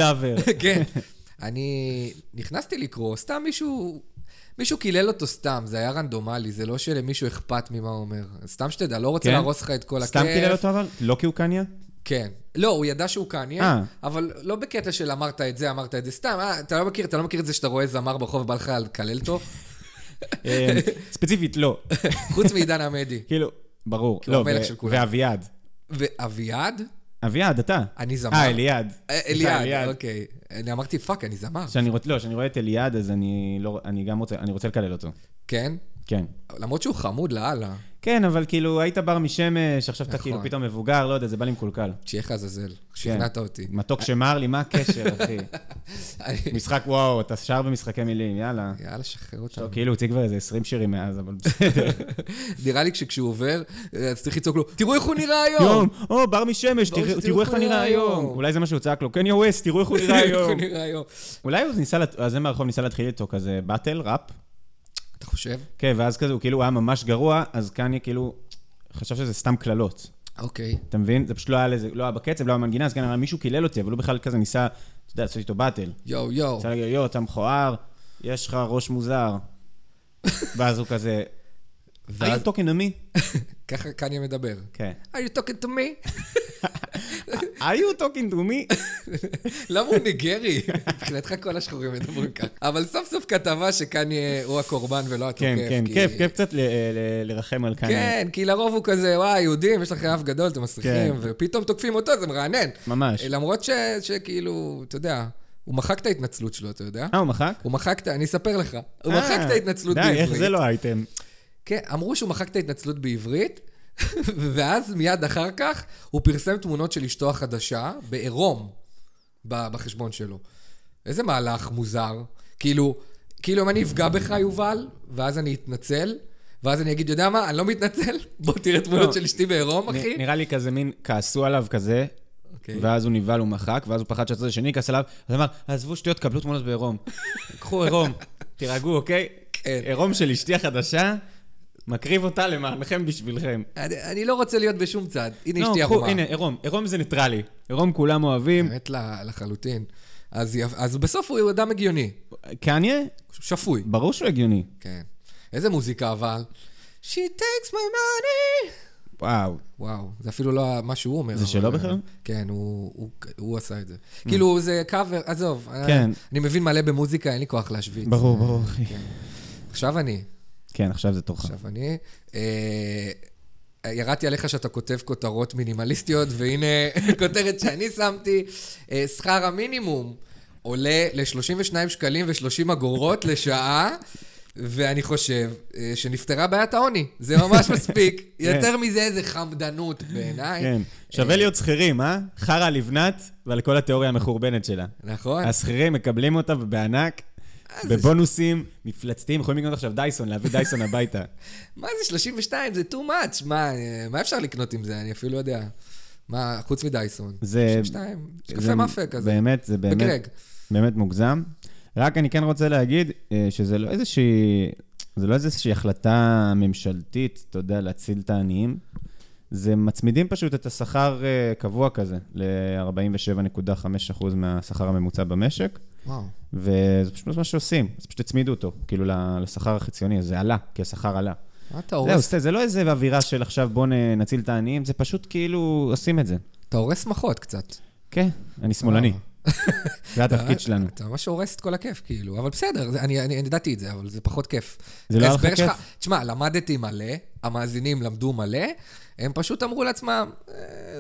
[SPEAKER 2] [laughs]
[SPEAKER 3] lover.
[SPEAKER 2] כן. אני נכנסתי לקרוא, סתם מישהו... מישהו קילל אותו סתם, זה היה רנדומלי, זה לא שלמישהו אכפת ממה הוא אומר. סתם שתדע, לא רוצה
[SPEAKER 3] כן?
[SPEAKER 2] להרוס לך את כל הכיף.
[SPEAKER 3] סתם קילל אותו אבל? לא כי הוא קניה?
[SPEAKER 2] כן. לא, הוא ידע שהוא
[SPEAKER 3] אה.
[SPEAKER 2] קניה, אבל לא בקטע של אמרת את זה, אמרת את זה. סתם, אה, אתה לא מכיר, אתה לא מכיר את זה שאתה רואה זמר ברחוב ובא לך לקלל
[SPEAKER 3] [laughs]
[SPEAKER 2] אותו? [laughs]
[SPEAKER 3] אה, ספציפית, לא.
[SPEAKER 2] חוץ מעידן עמדי.
[SPEAKER 3] כאילו, ברור.
[SPEAKER 2] כי הוא
[SPEAKER 3] לא,
[SPEAKER 2] המלך
[SPEAKER 3] ו-
[SPEAKER 2] של כולם.
[SPEAKER 3] ואביעד.
[SPEAKER 2] ואביעד?
[SPEAKER 3] אביעד, אתה.
[SPEAKER 2] אני זמר.
[SPEAKER 3] אה, אליעד.
[SPEAKER 2] אה,
[SPEAKER 3] סליחה,
[SPEAKER 2] אליעד, אוקיי. אני אמרתי, פאק, אני זמר.
[SPEAKER 3] שאני רוצ... לא, כשאני רואה את אליעד, אז אני, לא... אני גם רוצה, אני רוצה לקלל אותו.
[SPEAKER 2] כן?
[SPEAKER 3] כן.
[SPEAKER 2] למרות שהוא חמוד לאללה.
[SPEAKER 3] כן, אבל כאילו, היית בר משמש, עכשיו אתה
[SPEAKER 2] נכון.
[SPEAKER 3] כאילו פתאום מבוגר, לא יודע, זה בא לי מקולקל.
[SPEAKER 2] תשייך עזאזל,
[SPEAKER 3] כן.
[SPEAKER 2] שכנעת אותי.
[SPEAKER 3] מתוק שמר לי, מה הקשר, אחי? [laughs] משחק וואו, אתה שר במשחקי מילים, יאללה.
[SPEAKER 2] יאללה, שחרר אותנו.
[SPEAKER 3] טוב, כאילו, הוציא כבר איזה 20 שירים מאז,
[SPEAKER 2] לא.
[SPEAKER 3] אבל בסדר.
[SPEAKER 2] נראה לי שכשהוא עובר, אה, אז צריך לצעוק לו, תראו איך הוא נראה היום! [laughs]
[SPEAKER 3] יום, או, בר משמש,
[SPEAKER 2] ברור שתראו כן,
[SPEAKER 3] תראו- תראו איך אתה נראה היום. אולי זה מה שהוא צעק לו, קניה ווסט, תראו איך הוא נראה
[SPEAKER 2] איך הוא
[SPEAKER 3] היום.
[SPEAKER 2] נראה היום.
[SPEAKER 3] אולי הוא ניסה, לת- הזמר הרחוב ניסה להתחיל איתו כזה באטל, ראפ.
[SPEAKER 2] אתה חושב?
[SPEAKER 3] כן, ואז כזה, הוא כאילו היה ממש גרוע, אז קניה כאילו חשב שזה סתם קללות.
[SPEAKER 2] אוקיי.
[SPEAKER 3] אתה מבין? זה פשוט לא היה לזה, לא היה בקצב, לא היה במנגינה, אז כנראה מישהו קילל אותי, אבל הוא בכלל כזה ניסה, אתה יודע, לעשות איתו באטל.
[SPEAKER 2] יואו, יואו.
[SPEAKER 3] ניסה להגיד, יואו, אתה מכוער, יש לך ראש מוזר. [laughs] ואז הוא כזה, are
[SPEAKER 2] ואז-
[SPEAKER 3] you talking to me?
[SPEAKER 2] ככה קניה מדבר.
[SPEAKER 3] כן.
[SPEAKER 2] are you talking to me? [laughs]
[SPEAKER 3] are you talking to me?
[SPEAKER 2] למה הוא ניגרי? [laughs] מבחינתך כל השחורים מדברים ככה. אבל סוף סוף כתבה שקניה הוא הקורבן ולא התוקף.
[SPEAKER 3] כן, כן,
[SPEAKER 2] כי-
[SPEAKER 3] כיף, כיף קצת ל- ל- לרחם על קניה.
[SPEAKER 2] כן, כי לרוב הוא כזה, וואי, יהודים, יש לכם אף גדול, אתם
[SPEAKER 3] כן.
[SPEAKER 2] מסריחים, ופתאום תוקפים אותו, זה מרענן.
[SPEAKER 3] ממש.
[SPEAKER 2] למרות ש- שכאילו, אתה יודע, הוא מחק את ההתנצלות שלו, אתה יודע?
[SPEAKER 3] אה, הוא מחק?
[SPEAKER 2] הוא מחק את... אני אספר לך. הוא מחק את
[SPEAKER 3] אה,
[SPEAKER 2] ההתנצלות
[SPEAKER 3] די,
[SPEAKER 2] בעברית.
[SPEAKER 3] איך זה לא אייטם?
[SPEAKER 2] כן, אמרו שהוא מחק את ההתנצלות בעברית, [laughs] ואז מיד אחר כך הוא פרסם תמונות של אשתו החדשה בעירום ב- בחשבון שלו. איזה מהלך מוזר. כאילו, כאילו אם אני אפגע בך, יובל, ואז אני אתנצל, ואז אני אגיד, יודע מה, אני לא מתנצל, [laughs] בוא תראה
[SPEAKER 3] לא.
[SPEAKER 2] תמונות של אשתי בעירום, אחי.
[SPEAKER 3] נ- נראה לי כזה מין, כעסו עליו כזה,
[SPEAKER 2] אוקיי.
[SPEAKER 3] ואז הוא נבהל, הוא מחק, ואז הוא פחד שהצד השני יכעס עליו, אז אמר, עזבו שטויות, קבלו תמונות בעירום. [laughs] קחו עירום, תירגעו, אוקיי?
[SPEAKER 2] כן.
[SPEAKER 3] עירום של אשתי החדשה, מקריב אותה למענכם בשבילכם.
[SPEAKER 2] אני, אני לא רוצה להיות בשום צד. הנה
[SPEAKER 3] לא,
[SPEAKER 2] אשתי
[SPEAKER 3] קחו,
[SPEAKER 2] ערומה.
[SPEAKER 3] הנה, עירום, עירום זה ניטרלי. עירום כולם אוהבים.
[SPEAKER 2] באמת ל- לחלוטין. אז, יפ- אז בסוף הוא אדם הגיוני,
[SPEAKER 3] קניה?
[SPEAKER 2] שפוי.
[SPEAKER 3] ברור שהוא הגיוני.
[SPEAKER 2] כן. איזה מוזיקה אבל. She takes my money.
[SPEAKER 3] וואו.
[SPEAKER 2] וואו, זה אפילו לא מה שהוא אומר.
[SPEAKER 3] זה
[SPEAKER 2] אבל-
[SPEAKER 3] שלו בכלל? Hmm.
[SPEAKER 2] כן, הוא, הוא, הוא עשה את זה. כאילו, זה קאבר, עזוב.
[SPEAKER 3] כן.
[SPEAKER 2] אני, אני מבין מלא במוזיקה, אין לי כוח להשוויץ.
[SPEAKER 3] ברור, [laughs] ברור, אחי.
[SPEAKER 2] עכשיו אני,
[SPEAKER 3] כן, עכשיו זה תורך.
[SPEAKER 2] עכשיו אני. אה, ירדתי עליך שאתה כותב כותרות מינימליסטיות, והנה [laughs] כותרת שאני שמתי. אה, שכר המינימום עולה ל-32 שקלים ו-30 אגורות לשעה, ואני חושב אה, שנפתרה בעיית העוני. זה
[SPEAKER 3] [laughs]
[SPEAKER 2] ממש מספיק. יותר מזה זה חמדנות בעיניי.
[SPEAKER 3] כן. שווה להיות שכירים, אה? חרא על לבנת ועל כל התיאוריה המחורבנת שלה.
[SPEAKER 2] נכון? אה,
[SPEAKER 3] השכירים מקבלים אותה בענק, בבונוסים מפלצתיים, יכולים לקנות עכשיו דייסון, להביא דייסון הביתה.
[SPEAKER 2] [laughs] מה זה 32? זה too much. מה, אה, מה אפשר לקנות עם זה? אני אפילו לא יודע. מה, חוץ מדייסון.
[SPEAKER 3] זה-
[SPEAKER 2] 32.
[SPEAKER 3] זה
[SPEAKER 2] שקפה מאפה כזה.
[SPEAKER 3] באמת, זה באמת,
[SPEAKER 2] בגרג.
[SPEAKER 3] באמת מוגזם. רק אני כן רוצה להגיד אה, שזה לא איזושהי, זה לא איזושהי החלטה ממשלתית, אתה יודע, להציל את העניים. זה מצמידים פשוט את השכר אה, קבוע כזה ל-47.5% מהשכר הממוצע במשק.
[SPEAKER 2] וואו.
[SPEAKER 3] וזה פשוט מה שעושים, אז פשוט הצמידו אותו, כאילו ל- לשכר החציוני, אז זה עלה, כי השכר עלה.
[SPEAKER 2] מה אתה
[SPEAKER 3] זהו,
[SPEAKER 2] הורס?
[SPEAKER 3] זה, זה לא איזה אווירה של עכשיו בוא נ- נציל את העניים, זה פשוט כאילו עושים את זה.
[SPEAKER 2] אתה הורס מחות קצת.
[SPEAKER 3] כן, אני שמאלני. זה התפקיד
[SPEAKER 2] אתה-
[SPEAKER 3] שלנו.
[SPEAKER 2] אתה ממש הורס את כל הכיף, כאילו. אבל בסדר, זה- אני אני- אני ידעתי את זה, אבל זה פחות כיף.
[SPEAKER 3] זה לא היה לך
[SPEAKER 2] ההסבר שלך-
[SPEAKER 3] כיף?
[SPEAKER 2] תשמע, למדתי מלא, המאזינים למדו מלא, הם פשוט אמרו לעצמם, "אה,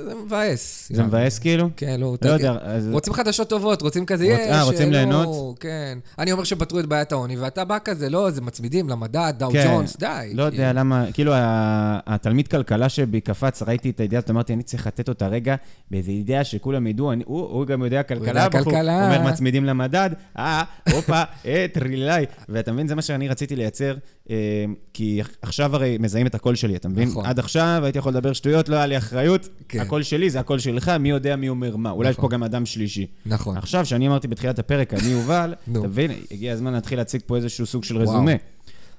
[SPEAKER 2] זה מבאס.
[SPEAKER 3] זה מבאס כאילו?
[SPEAKER 2] כן, לא,
[SPEAKER 3] לא
[SPEAKER 2] אתה-
[SPEAKER 3] יודע, אז-
[SPEAKER 2] רוצים חדשות טובות, רוצים כזה,
[SPEAKER 3] רוצ-
[SPEAKER 2] יש,
[SPEAKER 3] אה, רוצים
[SPEAKER 2] לא,
[SPEAKER 3] ליהנות?
[SPEAKER 2] כן. אני אומר שפתרו את בעיית העוני, ואתה בא כזה, לא, זה מצמידים למדד, דאו
[SPEAKER 3] כן.
[SPEAKER 2] ג'ונס, די.
[SPEAKER 3] לא יודע
[SPEAKER 2] כאילו.
[SPEAKER 3] למה, כאילו ה- התלמיד כלכלה שבי קפץ, ראיתי את הידיעה הזאת, אמרתי, אני צריך לתת אותה רגע באיזה ידיעה שכולם ידעו, אני- הוא הוא גם יודע כלכלה,
[SPEAKER 2] יודע
[SPEAKER 3] הבחור.
[SPEAKER 2] כלכלה.
[SPEAKER 3] אומר, מצמידים למדד, אה, הופה, אה, טרילאי. ואתה מבין, זה מה שאני רציתי לייצר, אה, כי עכשיו הרי מזהים את הקול שלי, אתה מבין?
[SPEAKER 2] נכון.
[SPEAKER 3] עד עכשיו הייתי יכול לדבר שטויות, לא היה לי אחריות,
[SPEAKER 2] כן.
[SPEAKER 3] הקול שלי זה הקול שלך, מי יודע מי אומר מה, אולי יש פה
[SPEAKER 2] נכון.
[SPEAKER 3] גם אדם שלישי.
[SPEAKER 2] נכון.
[SPEAKER 3] עכשיו, שאני אמרתי בתחילת הפרק, אני יובל,
[SPEAKER 2] [laughs] נו.
[SPEAKER 3] אתה מבין, הגיע הזמן להתחיל להציג פה איזשהו סוג של
[SPEAKER 2] וואו.
[SPEAKER 3] רזומה.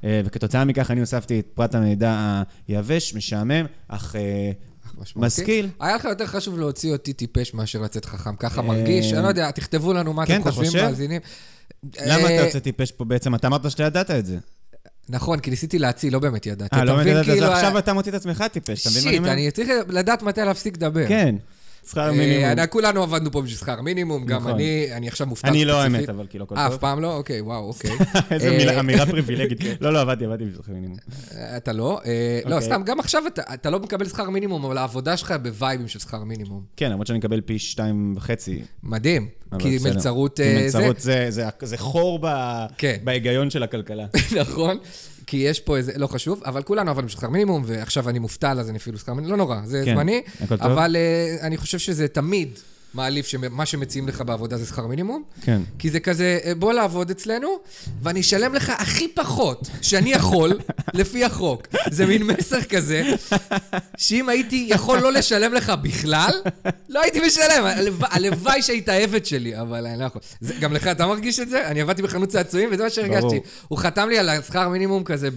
[SPEAKER 3] אה, וכתוצאה מכך אני הוספתי את פרט המידע היבש, משעמם, אך אה,
[SPEAKER 2] משמעותי.
[SPEAKER 3] משכיל. אה,
[SPEAKER 2] היה לך יותר חשוב להוציא אותי טיפש מאשר לצאת חכם. ככה מרגיש, אני לא יודע, תכתבו לנו מה
[SPEAKER 3] כן,
[SPEAKER 2] אתם
[SPEAKER 3] אתה
[SPEAKER 2] חושבים,
[SPEAKER 3] חושב?
[SPEAKER 2] מאזינים.
[SPEAKER 3] למה
[SPEAKER 2] אה,
[SPEAKER 3] אתה יוצא טיפש פה בעצם? אתה אמרת שאתה ידעת את זה.
[SPEAKER 2] נכון, כי ניסיתי להציל, לא באמת ידעתי.
[SPEAKER 3] אה,
[SPEAKER 2] אתה
[SPEAKER 3] לא
[SPEAKER 2] מבין,
[SPEAKER 3] מבין, אז
[SPEAKER 2] כאילו,
[SPEAKER 3] עכשיו אתה מוציא את עצמך טיפש, אתה מבין מה אני
[SPEAKER 2] שיט,
[SPEAKER 3] אומר?
[SPEAKER 2] אני צריך לדעת מתי להפסיק לדבר.
[SPEAKER 3] כן, שכר
[SPEAKER 2] אה,
[SPEAKER 3] מינימום.
[SPEAKER 2] אני- כולנו עבדנו פה בשביל שכר מינימום, גם
[SPEAKER 3] נכון.
[SPEAKER 2] אני, אני עכשיו מופתע
[SPEAKER 3] אני לא
[SPEAKER 2] ספציפית.
[SPEAKER 3] האמת, אבל כאילו, הכל
[SPEAKER 2] אה, אף
[SPEAKER 3] טוב.
[SPEAKER 2] פעם לא? אוקיי, וואו, אוקיי.
[SPEAKER 3] [laughs] איזה
[SPEAKER 2] אה,
[SPEAKER 3] מילה- אמירה פריבילגית. לא, לא, עבדתי, עבדתי בשכר מינימום.
[SPEAKER 2] אה, אתה לא? אה, לא,
[SPEAKER 3] אוקיי.
[SPEAKER 2] סתם, גם עכשיו אתה- אתה לא מקבל שכר מינימום, אבל העבודה שלך בווייבים של שכר מינימום.
[SPEAKER 3] כן, למרות שאני מקבל פי שתיים וחצי.
[SPEAKER 2] מדהים.
[SPEAKER 3] אבל
[SPEAKER 2] כי
[SPEAKER 3] בסדר.
[SPEAKER 2] מלצרות
[SPEAKER 3] כי
[SPEAKER 2] אה, זה...
[SPEAKER 3] מלצרות זה- זה- זה חור ב-
[SPEAKER 2] כן.
[SPEAKER 3] בהיגיון של הכלכלה.
[SPEAKER 2] [laughs] נכון? כי יש פה איזה, לא חשוב, אבל כולנו עבדנו בשכר מינימום, ועכשיו אני מובטל, אז אני אפילו שכר מינימום, לא נורא, זה
[SPEAKER 3] כן,
[SPEAKER 2] זמני.
[SPEAKER 3] הכל טוב.
[SPEAKER 2] אבל אה, אני חושב שזה תמיד מעליב שמה שמציעים לך בעבודה זה שכר מינימום.
[SPEAKER 3] כן.
[SPEAKER 2] כי זה כזה, אה, בוא לעבוד אצלנו, ואני אשלם לך הכי פחות שאני
[SPEAKER 3] [laughs]
[SPEAKER 2] יכול, לפי החוק. זה מין מסר כזה, שאם הייתי יכול לא לשלם לך בכלל, לא הייתי משלם. הלוואי- הלוואי שהיית עבד שלי, אבל אני לא יכול. זה, גם לך, אתה מרגיש את זה? אני עבדתי בחנות צעצועים, וזה מה שהרגשתי.
[SPEAKER 3] ברור.
[SPEAKER 2] הוא חתם לי על השכר מינימום כזה ב...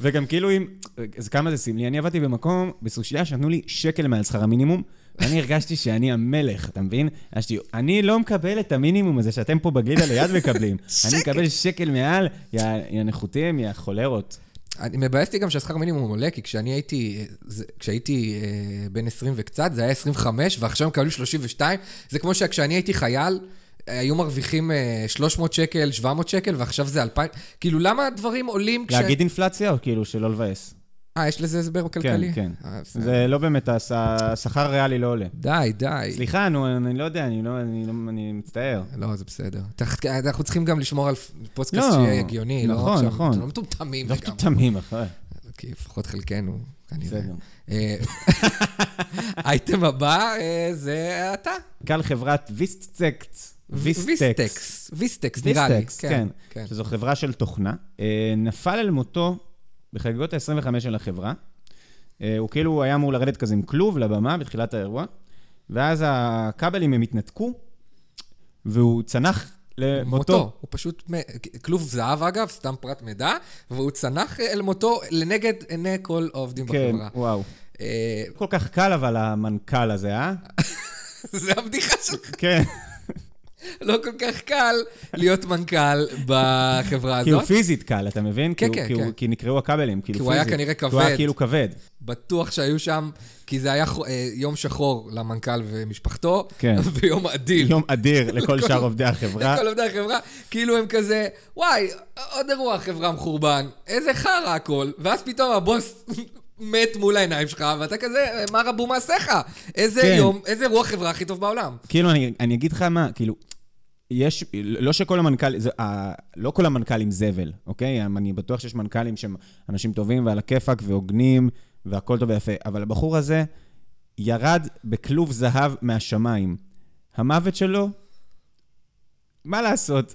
[SPEAKER 3] וגם כאילו אם, אז כמה זה סמלי, אני עבדתי במקום, בסושייה, שנתנו לי שקל מעל שכר המינימום, ואני הרגשתי שאני המלך, אתה מבין? הרגשתי, אני לא מקבל את המינימום הזה שאתם פה בגלידה ליד
[SPEAKER 2] [laughs]
[SPEAKER 3] מקבלים. אני מקבל שקל מעל, יא יא נחותים, יא חולרות.
[SPEAKER 2] אני מבאס אותי גם שהשכר מינימום עולה, כי כשאני הייתי, זה, כשהייתי אה, בן 20 וקצת, זה היה 25, ועכשיו מקבלים 32. זה כמו שכשאני הייתי חייל, אה, היו מרוויחים אה, 300 שקל, 700 שקל, ועכשיו זה 2,000. כאילו, למה הדברים עולים כש...
[SPEAKER 3] להגיד אינפלציה או כאילו שלא לבאס?
[SPEAKER 2] אה, יש לזה הסבר
[SPEAKER 3] כן,
[SPEAKER 2] כלכלי?
[SPEAKER 3] כן.
[SPEAKER 2] אה, בסדר.
[SPEAKER 3] זה לא באמת, הס- השכר הריאלי לא עולה.
[SPEAKER 2] די, די.
[SPEAKER 3] סליחה, נו, אני לא יודע, אני לא, אני לא, אני מצטער.
[SPEAKER 2] לא, זה בסדר. תח- אנחנו צריכים גם לשמור על פודקאסט
[SPEAKER 3] לא,
[SPEAKER 2] שיהיה הגיוני, לא?
[SPEAKER 3] נכון,
[SPEAKER 2] עכשיו,
[SPEAKER 3] נכון.
[SPEAKER 2] אנחנו לא מטומטמים
[SPEAKER 3] לא
[SPEAKER 2] לגמרי.
[SPEAKER 3] מטומטמים, אחי.
[SPEAKER 2] כי לפחות חלקנו, כנראה.
[SPEAKER 3] בסדר.
[SPEAKER 2] אה, האייטם הבא אה, זה אתה.
[SPEAKER 3] מנכ"ל חברת ויסטקס.
[SPEAKER 2] ויסטקס. ויסטקס, נראה לי.
[SPEAKER 3] ויסטקס, כן.
[SPEAKER 2] כן.
[SPEAKER 3] שזו חברה של תוכנה. אה, נפל אל מותו בחגיגות ה-25 של החברה. אה, הוא כאילו היה אמור לרדת כזה עם כלוב לבמה בתחילת האירוע, ואז הכבלים הם התנתקו, והוא צנח למותו.
[SPEAKER 2] מותו. הוא פשוט, מ- כלוב זהב אגב, סתם פרט מידע, והוא צנח אל מותו לנגד עיני כל העובדים
[SPEAKER 3] כן,
[SPEAKER 2] בחברה.
[SPEAKER 3] וואו.
[SPEAKER 2] אה, [laughs]
[SPEAKER 3] כל כך קל אבל המנכ"ל הזה, אה?
[SPEAKER 2] זה הבדיחה שלך.
[SPEAKER 3] כן.
[SPEAKER 2] לא כל כך קל להיות מנכ"ל בחברה
[SPEAKER 3] כי הוא
[SPEAKER 2] הזאת.
[SPEAKER 3] פיזית קל, אתה מבין?
[SPEAKER 2] כן,
[SPEAKER 3] כי
[SPEAKER 2] כן,
[SPEAKER 3] הוא- כי הוא-
[SPEAKER 2] כן.
[SPEAKER 3] כי נקרעו הכבלים, כאילו
[SPEAKER 2] כי
[SPEAKER 3] פיזית.
[SPEAKER 2] הוא היה כנראה
[SPEAKER 3] כי הוא היה
[SPEAKER 2] כבד.
[SPEAKER 3] כאילו כבד.
[SPEAKER 2] בטוח שהיו שם, כי זה היה חו- אה, יום שחור למנכ"ל ומשפחתו,
[SPEAKER 3] כן.
[SPEAKER 2] [laughs] ויום אדיל.
[SPEAKER 3] יום אדיר לכל שאר עובדי
[SPEAKER 2] [laughs]
[SPEAKER 3] החברה.
[SPEAKER 2] לכל עובדי החברה, כאילו הם כזה, וואי, עוד אירוע חברה מחורבן, איזה חרא הכל, ואז פתאום הבוס [laughs] מת מול העיניים שלך, ואתה כזה, מה רבו מעשיך? איזה
[SPEAKER 3] כן.
[SPEAKER 2] יום, איזה אירוע חברה הכי טוב בעולם.
[SPEAKER 3] [laughs] כאילו, אני, אני אגיד לך מה, כאילו, יש, לא שכל המנכ"ל, זה, ה, לא כל המנכ"לים זבל, אוקיי? אני בטוח שיש מנכ"לים שהם אנשים טובים ועל הכיפאק והוגנים והכל טוב ויפה, אבל הבחור הזה ירד בכלוב זהב מהשמיים. המוות שלו, מה לעשות?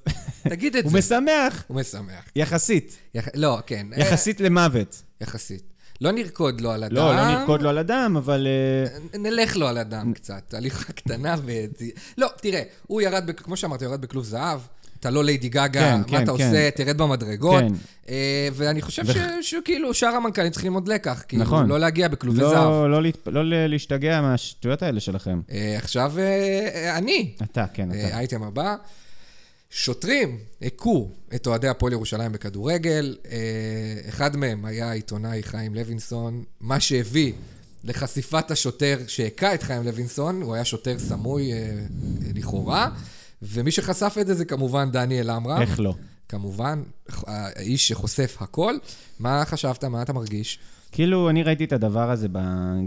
[SPEAKER 2] תגיד [laughs] את
[SPEAKER 3] הוא
[SPEAKER 2] זה.
[SPEAKER 3] משמח,
[SPEAKER 2] הוא משמח.
[SPEAKER 3] יחסית,
[SPEAKER 2] יח... לא, כן. אה,
[SPEAKER 3] יחסית למוות.
[SPEAKER 2] יחסית. לא נרקוד לו על הדם.
[SPEAKER 3] לא, לא נרקוד לו על הדם, אבל... אה,
[SPEAKER 2] נלך לו על הדם קצת, הליכה קטנה ו... לא, תראה, הוא ירד, ב- כמו שאמרת, הוא ירד בכלוב זהב, אתה לא ליידי גאגה,
[SPEAKER 3] כן,
[SPEAKER 2] מה
[SPEAKER 3] כן,
[SPEAKER 2] אתה
[SPEAKER 3] כן.
[SPEAKER 2] עושה, תרד במדרגות.
[SPEAKER 3] כן.
[SPEAKER 2] אה, ואני חושב ש- שכאילו, שאר המנכ"לים צריכים ללמוד לקח, כאילו,
[SPEAKER 3] נכון.
[SPEAKER 2] לא להגיע בכלובי זהב.
[SPEAKER 3] לא, לא, להת- לא ל- להשתגע מהשטויות האלה שלכם.
[SPEAKER 2] אה, עכשיו, אה, אה, אני,
[SPEAKER 3] אתה, כן,
[SPEAKER 2] אה,
[SPEAKER 3] אתה.
[SPEAKER 2] האייטם הבא. שוטרים הכו את אוהדי הפועל ירושלים בכדורגל. אה, אחד מהם היה העיתונאי חיים לוינסון, מה שהביא לחשיפת השוטר שהכה את חיים לוינסון, הוא היה שוטר סמוי אה, אה, לכאורה, ומי שחשף את זה זה כמובן דניאל עמרם.
[SPEAKER 3] איך לא?
[SPEAKER 2] כמובן, אה, האיש שחושף הכל. מה חשבת? מה אתה מרגיש?
[SPEAKER 3] כאילו, אני ראיתי את הדבר הזה ב...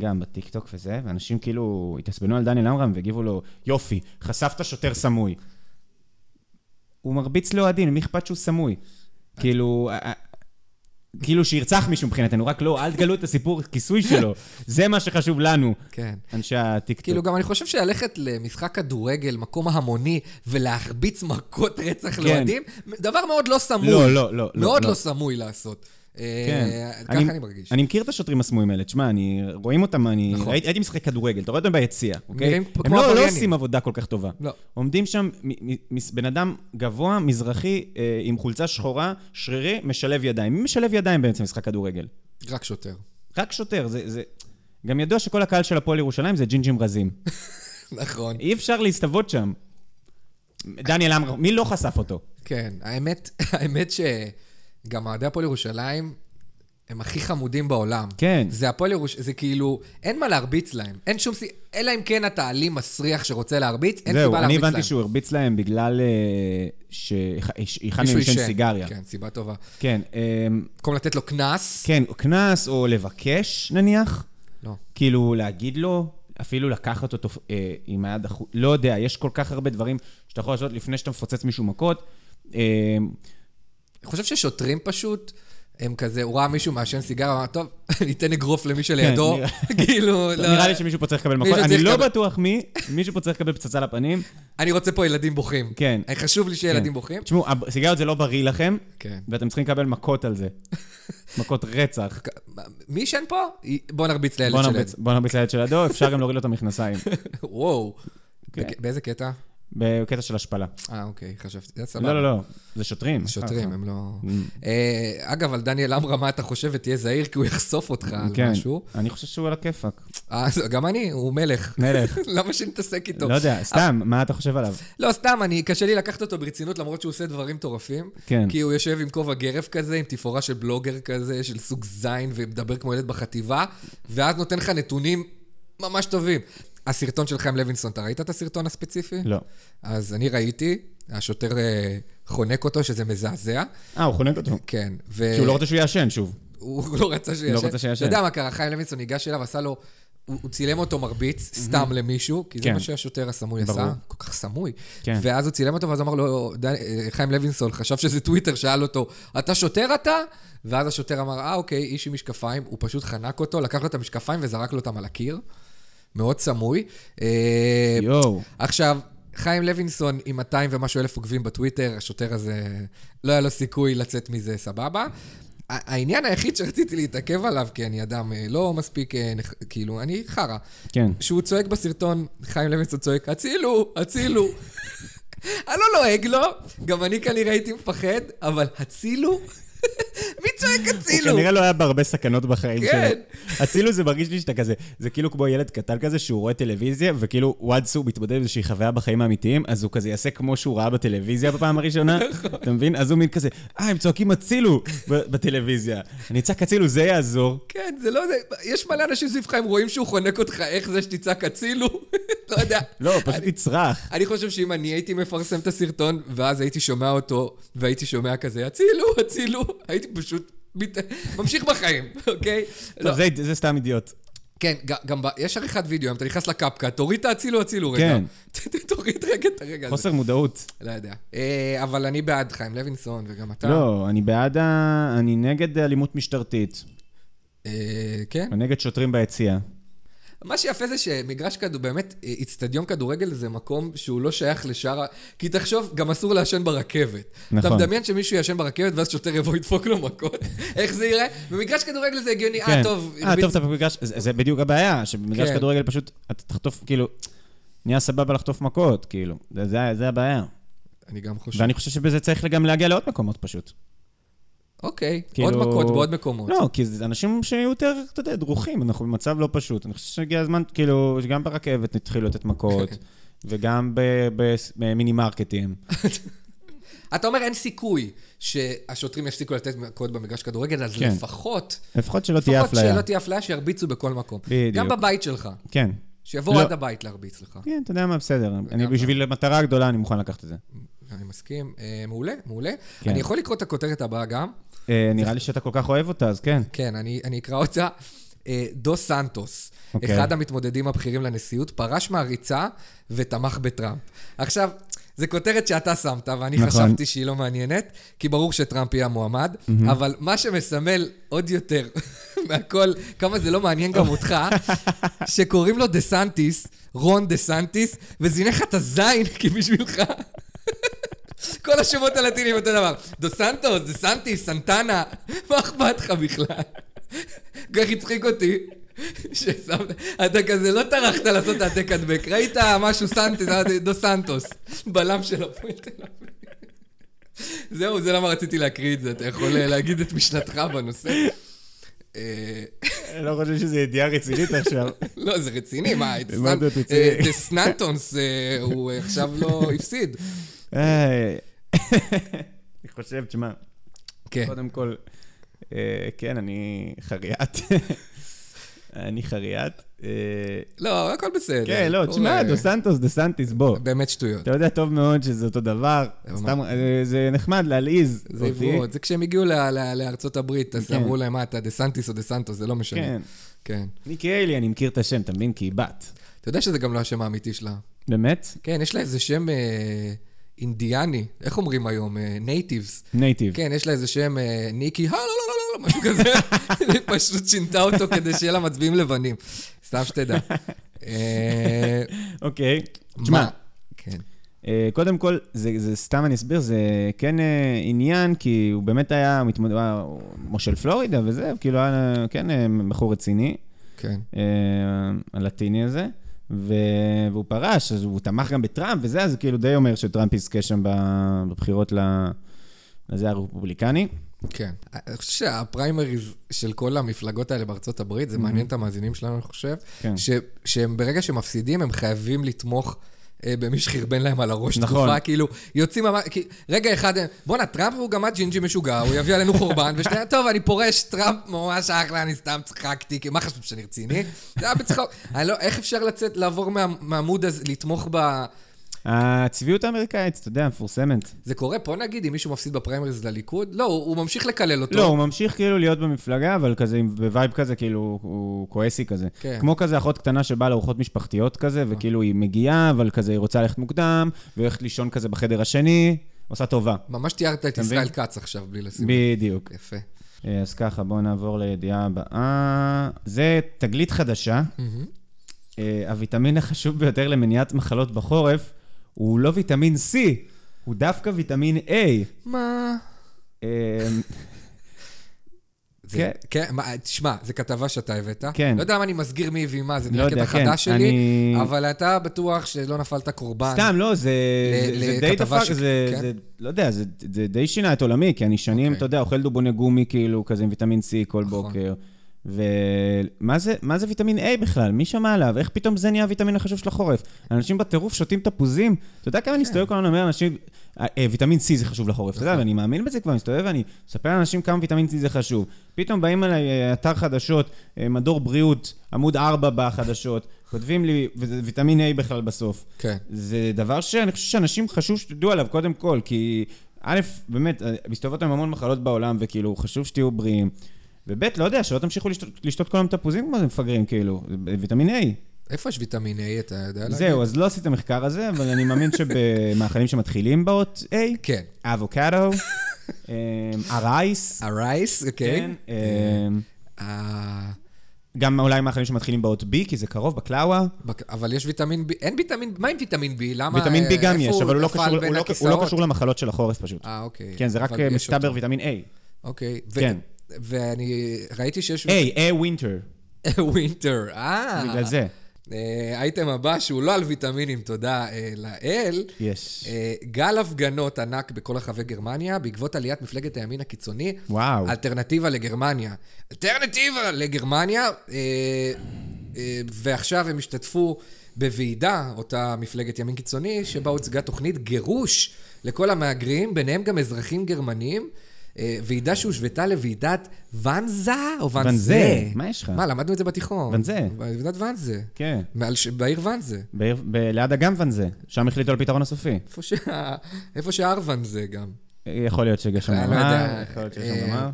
[SPEAKER 3] גם בטיקטוק וזה, ואנשים כאילו התעצבנו על דניאל עמרם והגיבו לו, יופי, חשפת שוטר סמוי. הוא מרביץ לאוהדים, מי אכפת שהוא סמוי? כאילו, א- א- כאילו שירצח מישהו מבחינתנו, רק לא, אל תגלו את הסיפור כיסוי שלו. זה מה שחשוב לנו,
[SPEAKER 2] כן.
[SPEAKER 3] אנשי
[SPEAKER 2] כאילו,
[SPEAKER 3] הטיקטוק.
[SPEAKER 2] גם אני חושב שללכת למשחק כדורגל, מקום ההמוני, ולהרביץ מכות רצח
[SPEAKER 3] כן.
[SPEAKER 2] לאוהדים, דבר מאוד לא סמוי.
[SPEAKER 3] לא, לא, לא, לא,
[SPEAKER 2] מאוד
[SPEAKER 3] לא.
[SPEAKER 2] לא סמוי לעשות.
[SPEAKER 3] כן.
[SPEAKER 2] אה, ככה אני מרגיש.
[SPEAKER 3] אני מכיר את השוטרים הסמויים האלה, תשמע, אני... רואים אותם, אני...
[SPEAKER 2] נכון.
[SPEAKER 3] הייתי הייתי משחק כדורגל, אתה רואה אותם ביציע, אוקיי?
[SPEAKER 2] נראים
[SPEAKER 3] הם
[SPEAKER 2] כמו
[SPEAKER 3] לא- לא
[SPEAKER 2] עבריינים.
[SPEAKER 3] עושים עבודה כל כך טובה.
[SPEAKER 2] לא.
[SPEAKER 3] עומדים שם מ- מ- מס- בן אדם גבוה, מזרחי, אה, עם חולצה שחורה, שרירי, משלב ידיים. מי משלב ידיים באמצע משחק כדורגל?
[SPEAKER 2] רק שוטר. [laughs]
[SPEAKER 3] רק שוטר, זה... זה... גם ידוע שכל הקהל של הפועל ירושלים זה ג'ינג'ים
[SPEAKER 2] [laughs]
[SPEAKER 3] רזים.
[SPEAKER 2] נכון.
[SPEAKER 3] אי אפשר להסתוות שם. דניאל עמרם, מי לא חשף אותו?
[SPEAKER 2] כן, האמת, [laughs] האמת שגם אוהדי הפועל ירושלים... הם הכי חמודים בעולם.
[SPEAKER 3] כן.
[SPEAKER 2] זה הפועל ירוש... זה כאילו, אין מה להרביץ להם. אין שום סיבה, אלא אם כן אתה אלים מסריח שרוצה להרביץ, אין
[SPEAKER 3] זהו,
[SPEAKER 2] סיבה
[SPEAKER 3] אני
[SPEAKER 2] להרביץ להם.
[SPEAKER 3] הבנתי שהוא הרביץ להם בגלל אה, שהיכן
[SPEAKER 2] מישהו
[SPEAKER 3] הוא עישן
[SPEAKER 2] עישן.
[SPEAKER 3] סיגריה.
[SPEAKER 2] כן, סיבה טובה.
[SPEAKER 3] כן, אמ,
[SPEAKER 2] במקום לתת לו קנס,
[SPEAKER 3] כן, או קנס או לבקש, נניח.
[SPEAKER 2] לא.
[SPEAKER 3] כאילו, להגיד לו, אפילו לקחת אותו אה, עם היד החוצה, לא יודע, יש כל כך הרבה דברים שאתה יכול לעשות לפני שאתה מפוצץ מישהו מכות. אה,
[SPEAKER 2] אני חושב ששוטרים פשוט, הם כזה, הוא ראה מישהו מעשן סיגר, אמר, טוב, [laughs] ניתן אגרוף למי שלידו, [laughs]
[SPEAKER 3] [laughs]
[SPEAKER 2] כאילו, לא,
[SPEAKER 3] כן, נראה לי שמישהו פה צריך לקבל מכות,
[SPEAKER 2] מישהו
[SPEAKER 3] אני
[SPEAKER 2] צריך
[SPEAKER 3] לא
[SPEAKER 2] לקבל-
[SPEAKER 3] בטוח מי, מישהו פה צריך לקבל פצצה לפנים.
[SPEAKER 2] אני רוצה פה ילדים בוכים.
[SPEAKER 3] כן.
[SPEAKER 2] חשוב לי שילדים
[SPEAKER 3] כן.
[SPEAKER 2] בוכים.
[SPEAKER 3] תשמעו, הב- סיגריות זה לא בריא לכם,
[SPEAKER 2] כן.
[SPEAKER 3] ואתם צריכים לקבל מכות על זה. מכות
[SPEAKER 2] [laughs]
[SPEAKER 3] רצח.
[SPEAKER 2] מי ישן פה? בוא נרביץ לילד
[SPEAKER 3] בוא
[SPEAKER 2] שלהם.
[SPEAKER 3] נרביץ- בוא נרביץ ליד של הדו, אפשר גם להוריד לו את המכנסיים.
[SPEAKER 2] [laughs] וואו.
[SPEAKER 3] כן.
[SPEAKER 2] בק- באיזה קטע?
[SPEAKER 3] בקטע של השפלה.
[SPEAKER 2] אה, אוקיי, חשבתי, זה סבבה.
[SPEAKER 3] לא, לא, לא, זה שוטרים.
[SPEAKER 2] שוטרים, הם לא... אה, אגב, על דניאל עמרם, מה אתה חושב? ותהיה זהיר, כי הוא יחשוף אותך על
[SPEAKER 3] כן,
[SPEAKER 2] משהו.
[SPEAKER 3] אני חושב שהוא על הכיפאק.
[SPEAKER 2] אה, זה- גם אני, הוא מלך.
[SPEAKER 3] מלך.
[SPEAKER 2] [laughs] למה שנתעסק איתו?
[SPEAKER 3] לא יודע, סתם, מה אתה
[SPEAKER 2] [laughs]
[SPEAKER 3] חושב עליו?
[SPEAKER 2] לא, סתם, אני, קשה לי לקחת אותו ברצינות, למרות שהוא עושה דברים מטורפים.
[SPEAKER 3] כן.
[SPEAKER 2] כי הוא יושב עם כובע גרף כזה, עם תפאורה של בלוגר כזה, של סוג זין, ומדבר כמו ילד בחטיבה, ואז נותן לך נתונים ממש טובים. הסרטון של חיים לוינסון, אתה ראית את הסרטון הספציפי?
[SPEAKER 3] לא.
[SPEAKER 2] אז אני ראיתי, השוטר אה, חונק אותו, שזה מזעזע.
[SPEAKER 3] אה, הוא חונק אותו.
[SPEAKER 2] כן, ו...
[SPEAKER 3] לא כי הוא לא רוצה שהוא יעשן שוב.
[SPEAKER 2] הוא [laughs] לא רצה שהוא
[SPEAKER 3] לא
[SPEAKER 2] ישן.
[SPEAKER 3] רצה שהוא ישן.
[SPEAKER 2] אתה יודע מה קרה? חיים לוינסון ניגש אליו, עשה לו... הוא הוא צילם אותו מרביץ, סתם למישהו, כי זה
[SPEAKER 3] כן.
[SPEAKER 2] מה שהשוטר הסמוי
[SPEAKER 3] ברור.
[SPEAKER 2] עשה, כל כך סמוי.
[SPEAKER 3] כן.
[SPEAKER 2] ואז הוא צילם אותו, ואז אמר לו, ד- אה, חיים לוינסון חשב שזה טוויטר, שאל אותו, אתה שוטר אתה? ואז השוטר אמר, אה, אוקיי, איש עם משקפיים. הוא פשוט חנק אותו, לקח לו את המשקפיים וזרק לו אותם על הקיר. מאוד סמוי. אה,
[SPEAKER 3] יואו.
[SPEAKER 2] עכשיו, חיים לוינסון עם 200 ומשהו אלף עוקבים בטוויטר, השוטר הזה, לא היה לו סיכוי לצאת מזה סבבה. ה- העניין היחיד שרציתי להתעכב עליו, כי אני אדם אה, לא מספיק, אה, נח- כאילו, אני חרא.
[SPEAKER 3] כן.
[SPEAKER 2] שהוא צועק בסרטון, חיים לוינסון צועק, הצילו, הצילו. [laughs] אני לא לועג לו, גם אני כנראה הייתי מפחד, אבל הצילו? [laughs] מי צועק הצילו?
[SPEAKER 3] כנראה לא היה בהרבה סכנות בחיים שלו.
[SPEAKER 2] כאילו-
[SPEAKER 3] [laughs]
[SPEAKER 2] כן.
[SPEAKER 3] הצילו זה מרגיש לי שאתה כזה, זה כאילו כמו ילד קטן כזה שהוא רואה טלוויזיה, וכאילו once הוא מתמודד עם איזושהי חוויה בחיים האמיתיים, אז הוא כזה יעשה כמו שהוא ראה בטלוויזיה
[SPEAKER 2] [laughs]
[SPEAKER 3] בפעם הראשונה,
[SPEAKER 2] נכון.
[SPEAKER 3] אתה מבין? אז הוא מין כזה, אה, הם צועקים הצילו ב- בטלוויזיה. אני אצעק הצילו, זה יעזור.
[SPEAKER 2] כן, זה לא... זה- יש מלא אנשים סביבך, הם רואים שהוא חונק אותך, איך זה שתצעק הצילו? [laughs] לא יודע.
[SPEAKER 3] לא, פשוט נצרח.
[SPEAKER 2] אני חושב שאם אני הייתי מפרסם את הסרטון, ואז הייתי שומע אותו, והייתי שומע כזה, הצילו, הצילו, הייתי פשוט מת... ממשיך בחיים, [laughs] אוקיי? לא.
[SPEAKER 3] טוב, זה- זה סתם אידיוט.
[SPEAKER 2] כן, ג- גם ב... יש עריכת וידאו, אם אתה נכנס לקפקא, תוריד את הצילו, הצילו [laughs] רגע. כן. תוריד רגע את הרגע הזה.
[SPEAKER 3] חוסר מודעות.
[SPEAKER 2] לא יודע. אה, אבל אני בעד חיים לוינסון, וגם אתה.
[SPEAKER 3] לא, אני בעד ה... אני נגד אלימות משטרתית.
[SPEAKER 2] אה, כן.
[SPEAKER 3] אני נגד שוטרים ביציאה.
[SPEAKER 2] אה, מה שיפה זה שמגרש כדור, באמת, אה, איצטדיון כדורגל זה מקום שהוא לא שייך לשאר ה... כי תחשוב, גם אסור לעשן ברכבת.
[SPEAKER 3] נכון.
[SPEAKER 2] אתה מדמיין שמישהו יעשן ברכבת ואז שוטר יבוא ידפוק לו מכות. [laughs] איך זה יראה? במגרש כדורגל זה הגיוני, אה, טוב.
[SPEAKER 3] אה,
[SPEAKER 2] הרביץ-
[SPEAKER 3] טוב, אתה במגרש, זה זה בדיוק הבעיה, שבמגרש
[SPEAKER 2] כן.
[SPEAKER 3] כדורגל פשוט, אתה תחטוף, כאילו, נהיה סבבה לחטוף מכות, כאילו. זה- זה זה הבעיה.
[SPEAKER 2] אני גם חושב.
[SPEAKER 3] ואני חושב שבזה צריך גם להגיע לעוד מקומות פשוט.
[SPEAKER 2] אוקיי,
[SPEAKER 3] כאילו-
[SPEAKER 2] עוד מכות בעוד מקומות.
[SPEAKER 3] לא, כי זה אנשים שיהיו יותר, אתה יודע, דרוכים, אנחנו במצב לא פשוט. אני חושב שהגיע הזמן, כאילו, שגם ברכבת התחילו לתת
[SPEAKER 2] [laughs]
[SPEAKER 3] מכות, וגם ב- ב- במיני מרקטים.
[SPEAKER 2] אתה אומר אין סיכוי שהשוטרים יפסיקו לתת מכות במגרש כדורגל, אז
[SPEAKER 3] כן.
[SPEAKER 2] לפחות...
[SPEAKER 3] לפחות שלא תהיה
[SPEAKER 2] לפחות
[SPEAKER 3] אפליה.
[SPEAKER 2] שלא תהיה אפליה, שירביצו בכל מקום.
[SPEAKER 3] בדיוק.
[SPEAKER 2] גם בבית שלך.
[SPEAKER 3] כן.
[SPEAKER 2] שיבואו
[SPEAKER 3] לא.
[SPEAKER 2] עד הבית להרביץ לך.
[SPEAKER 3] כן, אתה יודע מה, בסדר. אני בשביל מטרה גדולה, אני מוכן לקחת את זה.
[SPEAKER 2] אני מסכים. אה, מעולה, מעולה.
[SPEAKER 3] כן.
[SPEAKER 2] אני יכול לקרוא את הכותרת הבאה גם.
[SPEAKER 3] אה, נראה לי שאתה כל כך אוהב אותה, אז כן.
[SPEAKER 2] כן, אני, אני אקרא אותה. אה, דו סנטוס, okay.
[SPEAKER 3] אוקיי.
[SPEAKER 2] אחד המתמודדים הבכירים לנשיאות, פרש מהריצה ותמך בטראמפ. עכשיו, זו כותרת שאתה שמת, ואני
[SPEAKER 3] נכון.
[SPEAKER 2] נכון. חשבתי שהיא לא מעניינת, כי ברור שטראמפ יהיה המועמד, mm-hmm. אבל מה שמסמל עוד יותר [laughs] מהכל, כמה זה לא מעניין גם אותך, שקוראים לו דה סנטיס, רון דה סנטיס, וזינק לך את הזין, כי בשבילך... כל השמות הלטינים אותו דבר. דו סנטוס, דו סנטי, סנטנה, מה אכפת לך בכלל? כל כך הצחיק אותי. ששמת, אתה כזה לא טרחת לעשות העתק הדבק, ראית משהו סנטס, אמרתי, דו סנטוס, בלם של הפועל תל אביב. זהו, זה למה רציתי להקריא את זה, אתה יכול אה, להגיד את משנתך בנושא. אה,
[SPEAKER 3] אני לא חושב שזו ידיעה רצינית עכשיו.
[SPEAKER 2] לא, זה רציני, מה, את
[SPEAKER 3] מה זה
[SPEAKER 2] סנ-
[SPEAKER 3] רציני?
[SPEAKER 2] אה, דה סנטונס, אה, הוא אה, עכשיו לא הפסיד.
[SPEAKER 3] איי. אני חושב, תשמע,
[SPEAKER 2] כן.
[SPEAKER 3] קודם כל, אה, כן, אני חריאת. אני חריאת. אה,
[SPEAKER 2] לא, הכל בסדר.
[SPEAKER 3] כן, לא, תשמע,
[SPEAKER 2] קורה.
[SPEAKER 3] דו סנטוס, דה סנטיס, בוא.
[SPEAKER 2] באמת שטויות.
[SPEAKER 3] אתה יודע טוב מאוד שזה אותו דבר. סתם, אה, זה נחמד להלעיז
[SPEAKER 2] זה
[SPEAKER 3] אותי.
[SPEAKER 2] עברות, זה כשהם הגיעו ל- ל- לארצות הברית, אז
[SPEAKER 3] כן.
[SPEAKER 2] אמרו להם, מה אתה, דה סנטיס או דה סנטוס, זה לא משנה.
[SPEAKER 3] כן.
[SPEAKER 2] כן.
[SPEAKER 3] ניקי איילי, אני מכיר את השם, אתה מבין? כי היא בת.
[SPEAKER 2] אתה יודע שזה גם לא השם האמיתי שלה.
[SPEAKER 3] באמת?
[SPEAKER 2] כן, יש לה איזה שם אה, אינדיאני, איך אומרים היום? אה, נייטיבס.
[SPEAKER 3] נייטיב.
[SPEAKER 2] כן, יש לה איזה שם אה, ניקי, הלו, לא, לא, לא, לא, משהו כזה. [laughs] היא פשוט שינתה אותו כדי שיהיה לה מצביעים לבנים. סתם שתדע. אה,
[SPEAKER 3] אוקיי. תשמע,
[SPEAKER 2] מה? כן.
[SPEAKER 3] אה, קודם כל, זה, זה סתם אני אסביר, זה כן אה, עניין, כי הוא באמת היה מתמודד, הוא היה מושל פלורידה וזה, כאילו היה אה, כן אה, בחור רציני,
[SPEAKER 2] כן.
[SPEAKER 3] אה, הלטיני הזה, ו... והוא פרש, אז הוא תמך גם בטראמפ וזה, אז זה כאילו די אומר שטראמפ יזכה שם ב- בבחירות ל... לזה הרפובליקני.
[SPEAKER 2] כן. אני חושב שהפריימריז של כל המפלגות האלה בארצות הברית, זה מעניין את המאזינים שלנו, אני חושב,
[SPEAKER 3] Mm-hmm. כן.
[SPEAKER 2] ש- שהם ברגע שמפסידים, הם חייבים לתמוך. אה, במי שחרבן להם על הראש
[SPEAKER 3] נכון.
[SPEAKER 2] תקופה, כאילו, יוצאים, ממש- כי- רגע אחד, הם, בואנה, טראמפ הוא גם הג'ינג'י משוגע, הוא יביא עלינו חורבן,
[SPEAKER 3] [laughs]
[SPEAKER 2] ושנייה, טוב, אני פורש, טראמפ ממש אחלה, אני סתם צחקתי, כי מה חשבו שאני
[SPEAKER 3] [laughs]
[SPEAKER 2] רציני? זה היה בצחוק. אני לא, איך אפשר לצאת, לעבור מה- מהעמוד הזה, לתמוך ב...
[SPEAKER 3] הצביעות האמריקאית, אתה יודע, מפורסמת.
[SPEAKER 2] זה קורה פה נגיד, אם מישהו מפסיד בפריימריז לליכוד? לא, הוא הוא ממשיך לקלל אותו.
[SPEAKER 3] לא, הוא ממשיך כאילו להיות במפלגה, אבל כזה, עם- בווייב כזה, כאילו, הוא כועסי כזה.
[SPEAKER 2] כן.
[SPEAKER 3] כמו כזה אחות קטנה שבאה לארוחות משפחתיות כזה, וכאילו היא מגיעה, אבל כזה היא רוצה ללכת מוקדם, והולכת לישון כזה בחדר השני, עושה טובה.
[SPEAKER 2] ממש תיארת את
[SPEAKER 3] מבין?
[SPEAKER 2] ישראל כץ עכשיו, בלי לשים.
[SPEAKER 3] בדיוק.
[SPEAKER 2] יפה.
[SPEAKER 3] אה, אז ככה, בואו נעבור לידיעה הבאה. זה תגלית חדשה. אה, הוויטמין החשוב ביותר למניעת מחלות בחורף הוא לא ויטמין C, הוא דווקא ויטמין A.
[SPEAKER 2] מה?
[SPEAKER 3] אה,
[SPEAKER 2] זה-
[SPEAKER 3] כן.
[SPEAKER 2] כן, מה, תשמע, זו כתבה שאתה הבאת.
[SPEAKER 3] כן.
[SPEAKER 2] לא יודע למה אני מסגיר מי הביא מה, זה
[SPEAKER 3] לא
[SPEAKER 2] נראה
[SPEAKER 3] יודע,
[SPEAKER 2] קטע
[SPEAKER 3] כן,
[SPEAKER 2] חדש שלי,
[SPEAKER 3] אני-
[SPEAKER 2] אבל אתה בטוח שלא נפלת קורבן.
[SPEAKER 3] סתם, לא, זה,
[SPEAKER 2] ל-
[SPEAKER 3] זה, זה די
[SPEAKER 2] לכתבה
[SPEAKER 3] דפק,
[SPEAKER 2] ש-
[SPEAKER 3] זה,
[SPEAKER 2] כן?
[SPEAKER 3] זה, לא יודע, זה, זה די שינה את עולמי, כי אני שנים,
[SPEAKER 2] אוקיי.
[SPEAKER 3] אתה יודע, אוכל דובוני גומי, כאילו, כזה עם ויטמין C כל
[SPEAKER 2] נכון.
[SPEAKER 3] בוקר. ומה זה, מה זה ויטמין A בכלל? מי שמע עליו? איך פתאום זה נהיה הוויטמין החשוב של החורף? אנשים בטירוף שותים תפוזים? אתה יודע כמה
[SPEAKER 2] כן.
[SPEAKER 3] אני מסתובב כל הזמן ואומר לאנשים, "אה, אה, ויטמין C זה חשוב לחורף, אתה יודע,
[SPEAKER 2] נכון.
[SPEAKER 3] ואני מאמין בזה כבר, אני מסתובב ואני מספר לאנשים כמה ויטמין C זה חשוב. פתאום באים אליי אה, אתר חדשות, אה, מדור בריאות, עמוד 4 בחדשות, כותבים לי, וזה ויטמין A בכלל בסוף.
[SPEAKER 2] כן.
[SPEAKER 3] זה דבר שאני חושב שאנשים חשוב שתדעו עליו קודם כל, כי א', באמת, אה, מסתובבות עם המון מחלות בעולם, וכאילו, חשוב שתהיו בריאים. וב', לא יודע, שלא תמשיכו לשתות, לשתות כל היום תפוזים כמו זה מפגרים, כאילו, זה ויטמין A.
[SPEAKER 2] איפה יש ויטמין A, אתה יודע להגיד?
[SPEAKER 3] זהו, אז לא עשיתי מחקר על זה, אבל אני מאמין שבמאכלים שמתחילים באות A,
[SPEAKER 2] כן.
[SPEAKER 3] אבוקדו, אמ, הרייס,
[SPEAKER 2] אה, הרייס,
[SPEAKER 3] כן,
[SPEAKER 2] אוקיי.
[SPEAKER 3] אמ,
[SPEAKER 2] אה,
[SPEAKER 3] גם אולי מאכלים שמתחילים באות B, כי זה קרוב, בקלאווה.
[SPEAKER 2] בק- אבל יש ויטמין B, אין ויטמין, מה עם ויטמין B? למה?
[SPEAKER 3] ויטמין B
[SPEAKER 2] אה,
[SPEAKER 3] גם
[SPEAKER 2] איפה
[SPEAKER 3] יש, אבל הוא לא
[SPEAKER 2] נפל
[SPEAKER 3] קשור-
[SPEAKER 2] בין
[SPEAKER 3] הוא לא- הוא
[SPEAKER 2] הכיסאות?
[SPEAKER 3] לא קשור למחלות של החורף פשוט.
[SPEAKER 2] אה, אוקיי.
[SPEAKER 3] כן, זה רק
[SPEAKER 2] אבל יש
[SPEAKER 3] מסתבר
[SPEAKER 2] אותו.
[SPEAKER 3] ויטמין A.
[SPEAKER 2] אוקיי. ו-
[SPEAKER 3] כן. אה,
[SPEAKER 2] ואני ראיתי שיש...
[SPEAKER 3] A, A winter,
[SPEAKER 2] אה. [laughs] ווינטר, אה.
[SPEAKER 3] בגלל זה.
[SPEAKER 2] אה, האייטם הבא, שהוא לא על ויטמינים, תודה אה, לאל.
[SPEAKER 3] יש.
[SPEAKER 2] אה, גל הפגנות ענק בכל רחבי גרמניה, בעקבות עליית מפלגת הימין הקיצוני.
[SPEAKER 3] וואו.
[SPEAKER 2] אלטרנטיבה לגרמניה. אלטרנטיבה לגרמניה, אה, אה, ועכשיו הם השתתפו בוועידה, אותה מפלגת ימין קיצוני, שבה הוצגה תוכנית גירוש לכל המהגרים, ביניהם גם אזרחים גרמנים. אה, ועידה שהושוותה לוועידת ואנזה או ואנזה?
[SPEAKER 3] ואנזה, מה יש לך?
[SPEAKER 2] מה, למדנו את זה בתיכון.
[SPEAKER 3] ואנזה.
[SPEAKER 2] ועידת ואנזה.
[SPEAKER 3] כן.
[SPEAKER 2] מעל ש- בעיר ואנזה.
[SPEAKER 3] בעיר- ב- ליד אגם ואנזה, שם החליטו על פתרון הסופי.
[SPEAKER 2] איפה שה- איפה שהארוון זה גם.
[SPEAKER 3] יכול להיות שיש שם
[SPEAKER 2] אני לא
[SPEAKER 3] אמר,
[SPEAKER 2] יודע.
[SPEAKER 3] יכול להיות שיש
[SPEAKER 2] אה,
[SPEAKER 3] שם אמר.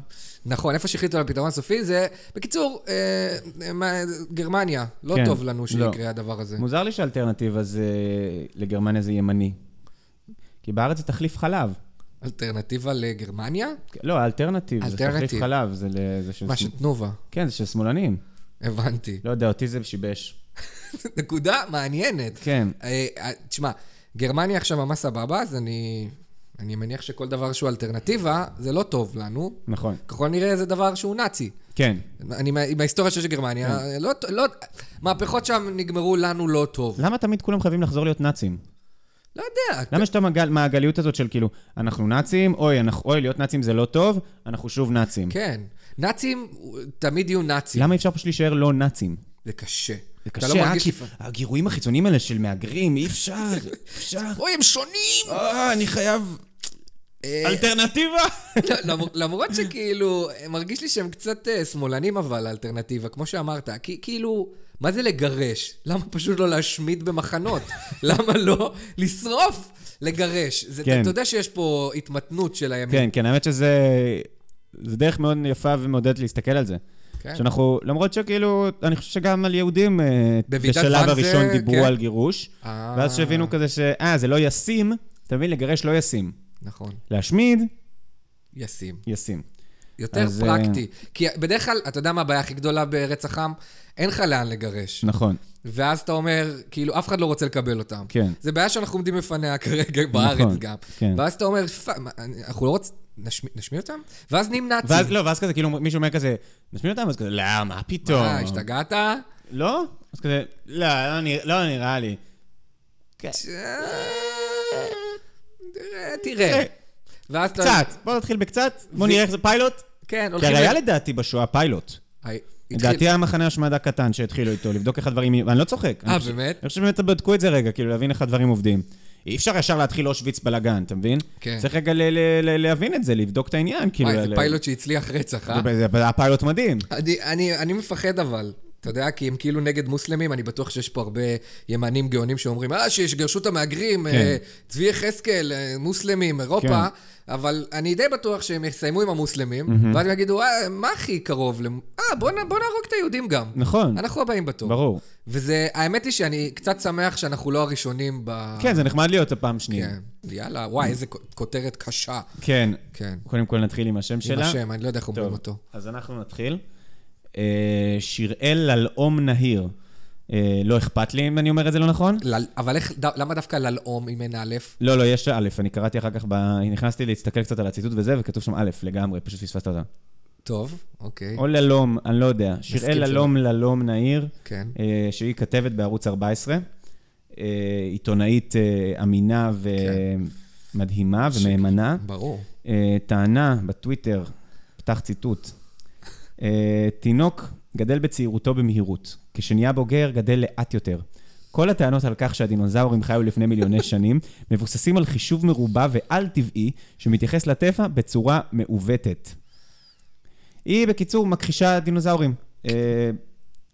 [SPEAKER 2] נכון, איפה שהחליטו על פתרון סופי זה... בקיצור, אה, מה- גרמניה, לא
[SPEAKER 3] כן,
[SPEAKER 2] טוב לנו
[SPEAKER 3] לא.
[SPEAKER 2] שיקרה הדבר הזה.
[SPEAKER 3] מוזר לי שהאלטרנטיבה זה לגרמניה זה ימני. כי בארץ זה תחליף חלב.
[SPEAKER 2] אלטרנטיבה לגרמניה?
[SPEAKER 3] לא, האלטרנטיב זה
[SPEAKER 2] אלטרנטיב.
[SPEAKER 3] תחליף חלב, זה ל- זה של...
[SPEAKER 2] מה,
[SPEAKER 3] שמ-
[SPEAKER 2] של תנובה.
[SPEAKER 3] כן, זה של שמאלנים.
[SPEAKER 2] הבנתי.
[SPEAKER 3] לא יודע, אותי זה שיבש.
[SPEAKER 2] [laughs] נקודה מעניינת.
[SPEAKER 3] לא. כן.
[SPEAKER 2] אה, אה, תשמע, גרמניה עכשיו ממש סבבה, אז אני... אני מניח שכל דבר שהוא אלטרנטיבה, זה לא טוב לנו.
[SPEAKER 3] נכון.
[SPEAKER 2] ככל הנראה זה דבר שהוא נאצי.
[SPEAKER 3] כן.
[SPEAKER 2] אני, מה- עם ההיסטוריה שיש לגרמניה, לא, לא, מהפכות שם נגמרו לנו לא טוב.
[SPEAKER 3] למה תמיד כולם חייבים לחזור להיות נאצים?
[SPEAKER 2] לא יודע.
[SPEAKER 3] למה יש את המעגל- מעגליות הזאת של כאילו, אנחנו נאצים, אוי, אנחנו- אוי, להיות נאצים זה לא טוב, אנחנו שוב נאצים.
[SPEAKER 2] כן. נאצים תמיד יהיו נאצים.
[SPEAKER 3] למה אי אפשר פשוט להישאר לא נאצים?
[SPEAKER 2] זה קשה.
[SPEAKER 3] זה
[SPEAKER 2] אתה לא
[SPEAKER 3] קשה, אה?
[SPEAKER 2] מרגיש
[SPEAKER 3] כי
[SPEAKER 2] לפ-
[SPEAKER 3] הגירויים החיצוניים האלה של מהגרים, אי אפשר, אי [laughs] אפשר.
[SPEAKER 2] אוי, הם שונים! [laughs]
[SPEAKER 3] אה, אני חייב...
[SPEAKER 2] אה,
[SPEAKER 3] [laughs] אלטרנטיבה?
[SPEAKER 2] למ- למרות שכאילו, מרגיש לי שהם קצת אה, שמאלנים אבל, האלטרנטיבה, כמו שאמרת. כי- כאילו, מה זה לגרש? למה פשוט לא להשמיד במחנות? [laughs] למה לא לשרוף? לגרש. זה-
[SPEAKER 3] כן.
[SPEAKER 2] אתה יודע שיש פה התמתנות של הימין.
[SPEAKER 3] כן, כן, האמת שזה... זה דרך מאוד יפה ומעודדת להסתכל על זה.
[SPEAKER 2] כן.
[SPEAKER 3] שאנחנו, למרות שכאילו, אני חושב שגם על יהודים אה,
[SPEAKER 2] בוועידת
[SPEAKER 3] בשלב
[SPEAKER 2] ואנזה,
[SPEAKER 3] הראשון דיברו
[SPEAKER 2] כן.
[SPEAKER 3] על גירוש,
[SPEAKER 2] אה.
[SPEAKER 3] ואז שהבינו כזה ש... אה, זה לא ישים, אתה מבין? לגרש לא ישים.
[SPEAKER 2] נכון.
[SPEAKER 3] להשמיד,
[SPEAKER 2] ישים.
[SPEAKER 3] ישים.
[SPEAKER 2] יותר
[SPEAKER 3] אז, אה,
[SPEAKER 2] פרקטי. כי בדרך כלל, אתה יודע מה הבעיה הכי גדולה ברצח עם? אין לך לאן לגרש.
[SPEAKER 3] נכון.
[SPEAKER 2] ואז אתה אומר, כאילו, אף אחד לא רוצה לקבל אותם.
[SPEAKER 3] כן.
[SPEAKER 2] זה בעיה שאנחנו עומדים בפניה כרגע בארץ
[SPEAKER 3] נכון,
[SPEAKER 2] גם.
[SPEAKER 3] כן.
[SPEAKER 2] ואז אתה אומר, "פ- מה, אני- אנחנו לא רוצים... נשמיע- נשמיע אותם? ואז נהיים נאצים.
[SPEAKER 3] ואז, לא, ואז כזה, כאילו, מישהו אומר כזה, נשמיע אותם? אז כזה, לא, מה פתאום?
[SPEAKER 2] אה, השתגעת?
[SPEAKER 3] לא? אז כזה, לא, לא, נרא- לא נראה לי.
[SPEAKER 2] אה, תראה. ואז אתה...
[SPEAKER 3] קצת, בוא נתחיל בקצת, בוא
[SPEAKER 2] ו-
[SPEAKER 3] נראה איך זה פיילוט.
[SPEAKER 2] כן,
[SPEAKER 3] כי
[SPEAKER 2] הולכים...
[SPEAKER 3] הרי היה
[SPEAKER 2] ל-
[SPEAKER 3] לדעתי בשואה פיילוט.
[SPEAKER 2] היי, התחיל-
[SPEAKER 3] לדעתי היה מחנה השמדה קטן שהתחילו איתו, לבדוק איך הדברים... יהיו- אני לא צוחק. אני
[SPEAKER 2] אה,
[SPEAKER 3] חושב-
[SPEAKER 2] באמת?
[SPEAKER 3] אני חושב שבאמת בדקו את זה רגע, כאילו להבין איך הדברים עובדים. אי אפשר ישר להתחיל אושוויץ בלאגן, אתה מבין?
[SPEAKER 2] כן.
[SPEAKER 3] צריך רגע ל- ל- ל- להבין את זה, לבדוק את העניין, כאילו...
[SPEAKER 2] וואי, זה
[SPEAKER 3] ל-
[SPEAKER 2] פיילוט שהצליח רצח, אה?
[SPEAKER 3] זה- זה היה פיילוט מדהים.
[SPEAKER 2] אני- אני- אני מפחד אבל. אתה יודע, כי הם כאילו נגד מוסלמים, אני בטוח שיש פה הרבה ימנים גאונים שאומרים, אה, שיגרשו את המהגרים,
[SPEAKER 3] כן.
[SPEAKER 2] אה, צבי יחזקאל, אה, מוסלמים, אירופה,
[SPEAKER 3] כן.
[SPEAKER 2] אבל אני די בטוח שהם יסיימו עם המוסלמים, ואז הם יגידו, אה, מה הכי קרוב? למ- אה, בוא נ- בוא נהרוג את היהודים גם.
[SPEAKER 3] נכון,
[SPEAKER 2] אנחנו הבאים בתור.
[SPEAKER 3] ברור.
[SPEAKER 2] וזה, האמת היא שאני קצת שמח שאנחנו לא הראשונים ב...
[SPEAKER 3] כן, זה נחמד להיות הפעם שנייה.
[SPEAKER 2] אה. כן. יאללה, וואי, איזה כ- כותרת קשה.
[SPEAKER 3] כן.
[SPEAKER 2] כן.
[SPEAKER 3] קודם כל נתחיל עם השם שלה.
[SPEAKER 2] עם השם, אני לא יודע איך אומרים
[SPEAKER 3] טוב,
[SPEAKER 2] אותו.
[SPEAKER 3] אז אנחנו נתחיל. אה, שיראל ללאום נהיר. אה, לא אכפת לי אם אני אומר את זה לא נכון?
[SPEAKER 2] לל- אבל איך, ד- למה דווקא ללאום אם אין א'?
[SPEAKER 3] לא, לא, יש א', אני קראתי אחר כך, ב... נכנסתי להסתכל קצת על הציטוט וזה, וכתוב שם א', לגמרי, פשוט פספסת אותה.
[SPEAKER 2] טוב, אוקיי.
[SPEAKER 3] או ללום, אני לא יודע.
[SPEAKER 2] מסכים
[SPEAKER 3] שיראל ללום ללום נהיר,
[SPEAKER 2] כן.
[SPEAKER 3] אה, שהיא כתבת בערוץ 14, אה, עיתונאית אה, אמינה
[SPEAKER 2] כן.
[SPEAKER 3] ומדהימה ומהימנה.
[SPEAKER 2] ברור.
[SPEAKER 3] אה, טענה בטוויטר, פתח ציטוט, אה, תינוק גדל בצעירותו במהירות, כשנהיה בוגר גדל לאט יותר. כל הטענות על כך שהדינוזאורים חיו לפני
[SPEAKER 2] [laughs]
[SPEAKER 3] מיליוני שנים מבוססים על חישוב מרובע ועל-טבעי שמתייחס לטבע בצורה מעוותת. היא בקיצור מכחישה דינוזאורים. אה,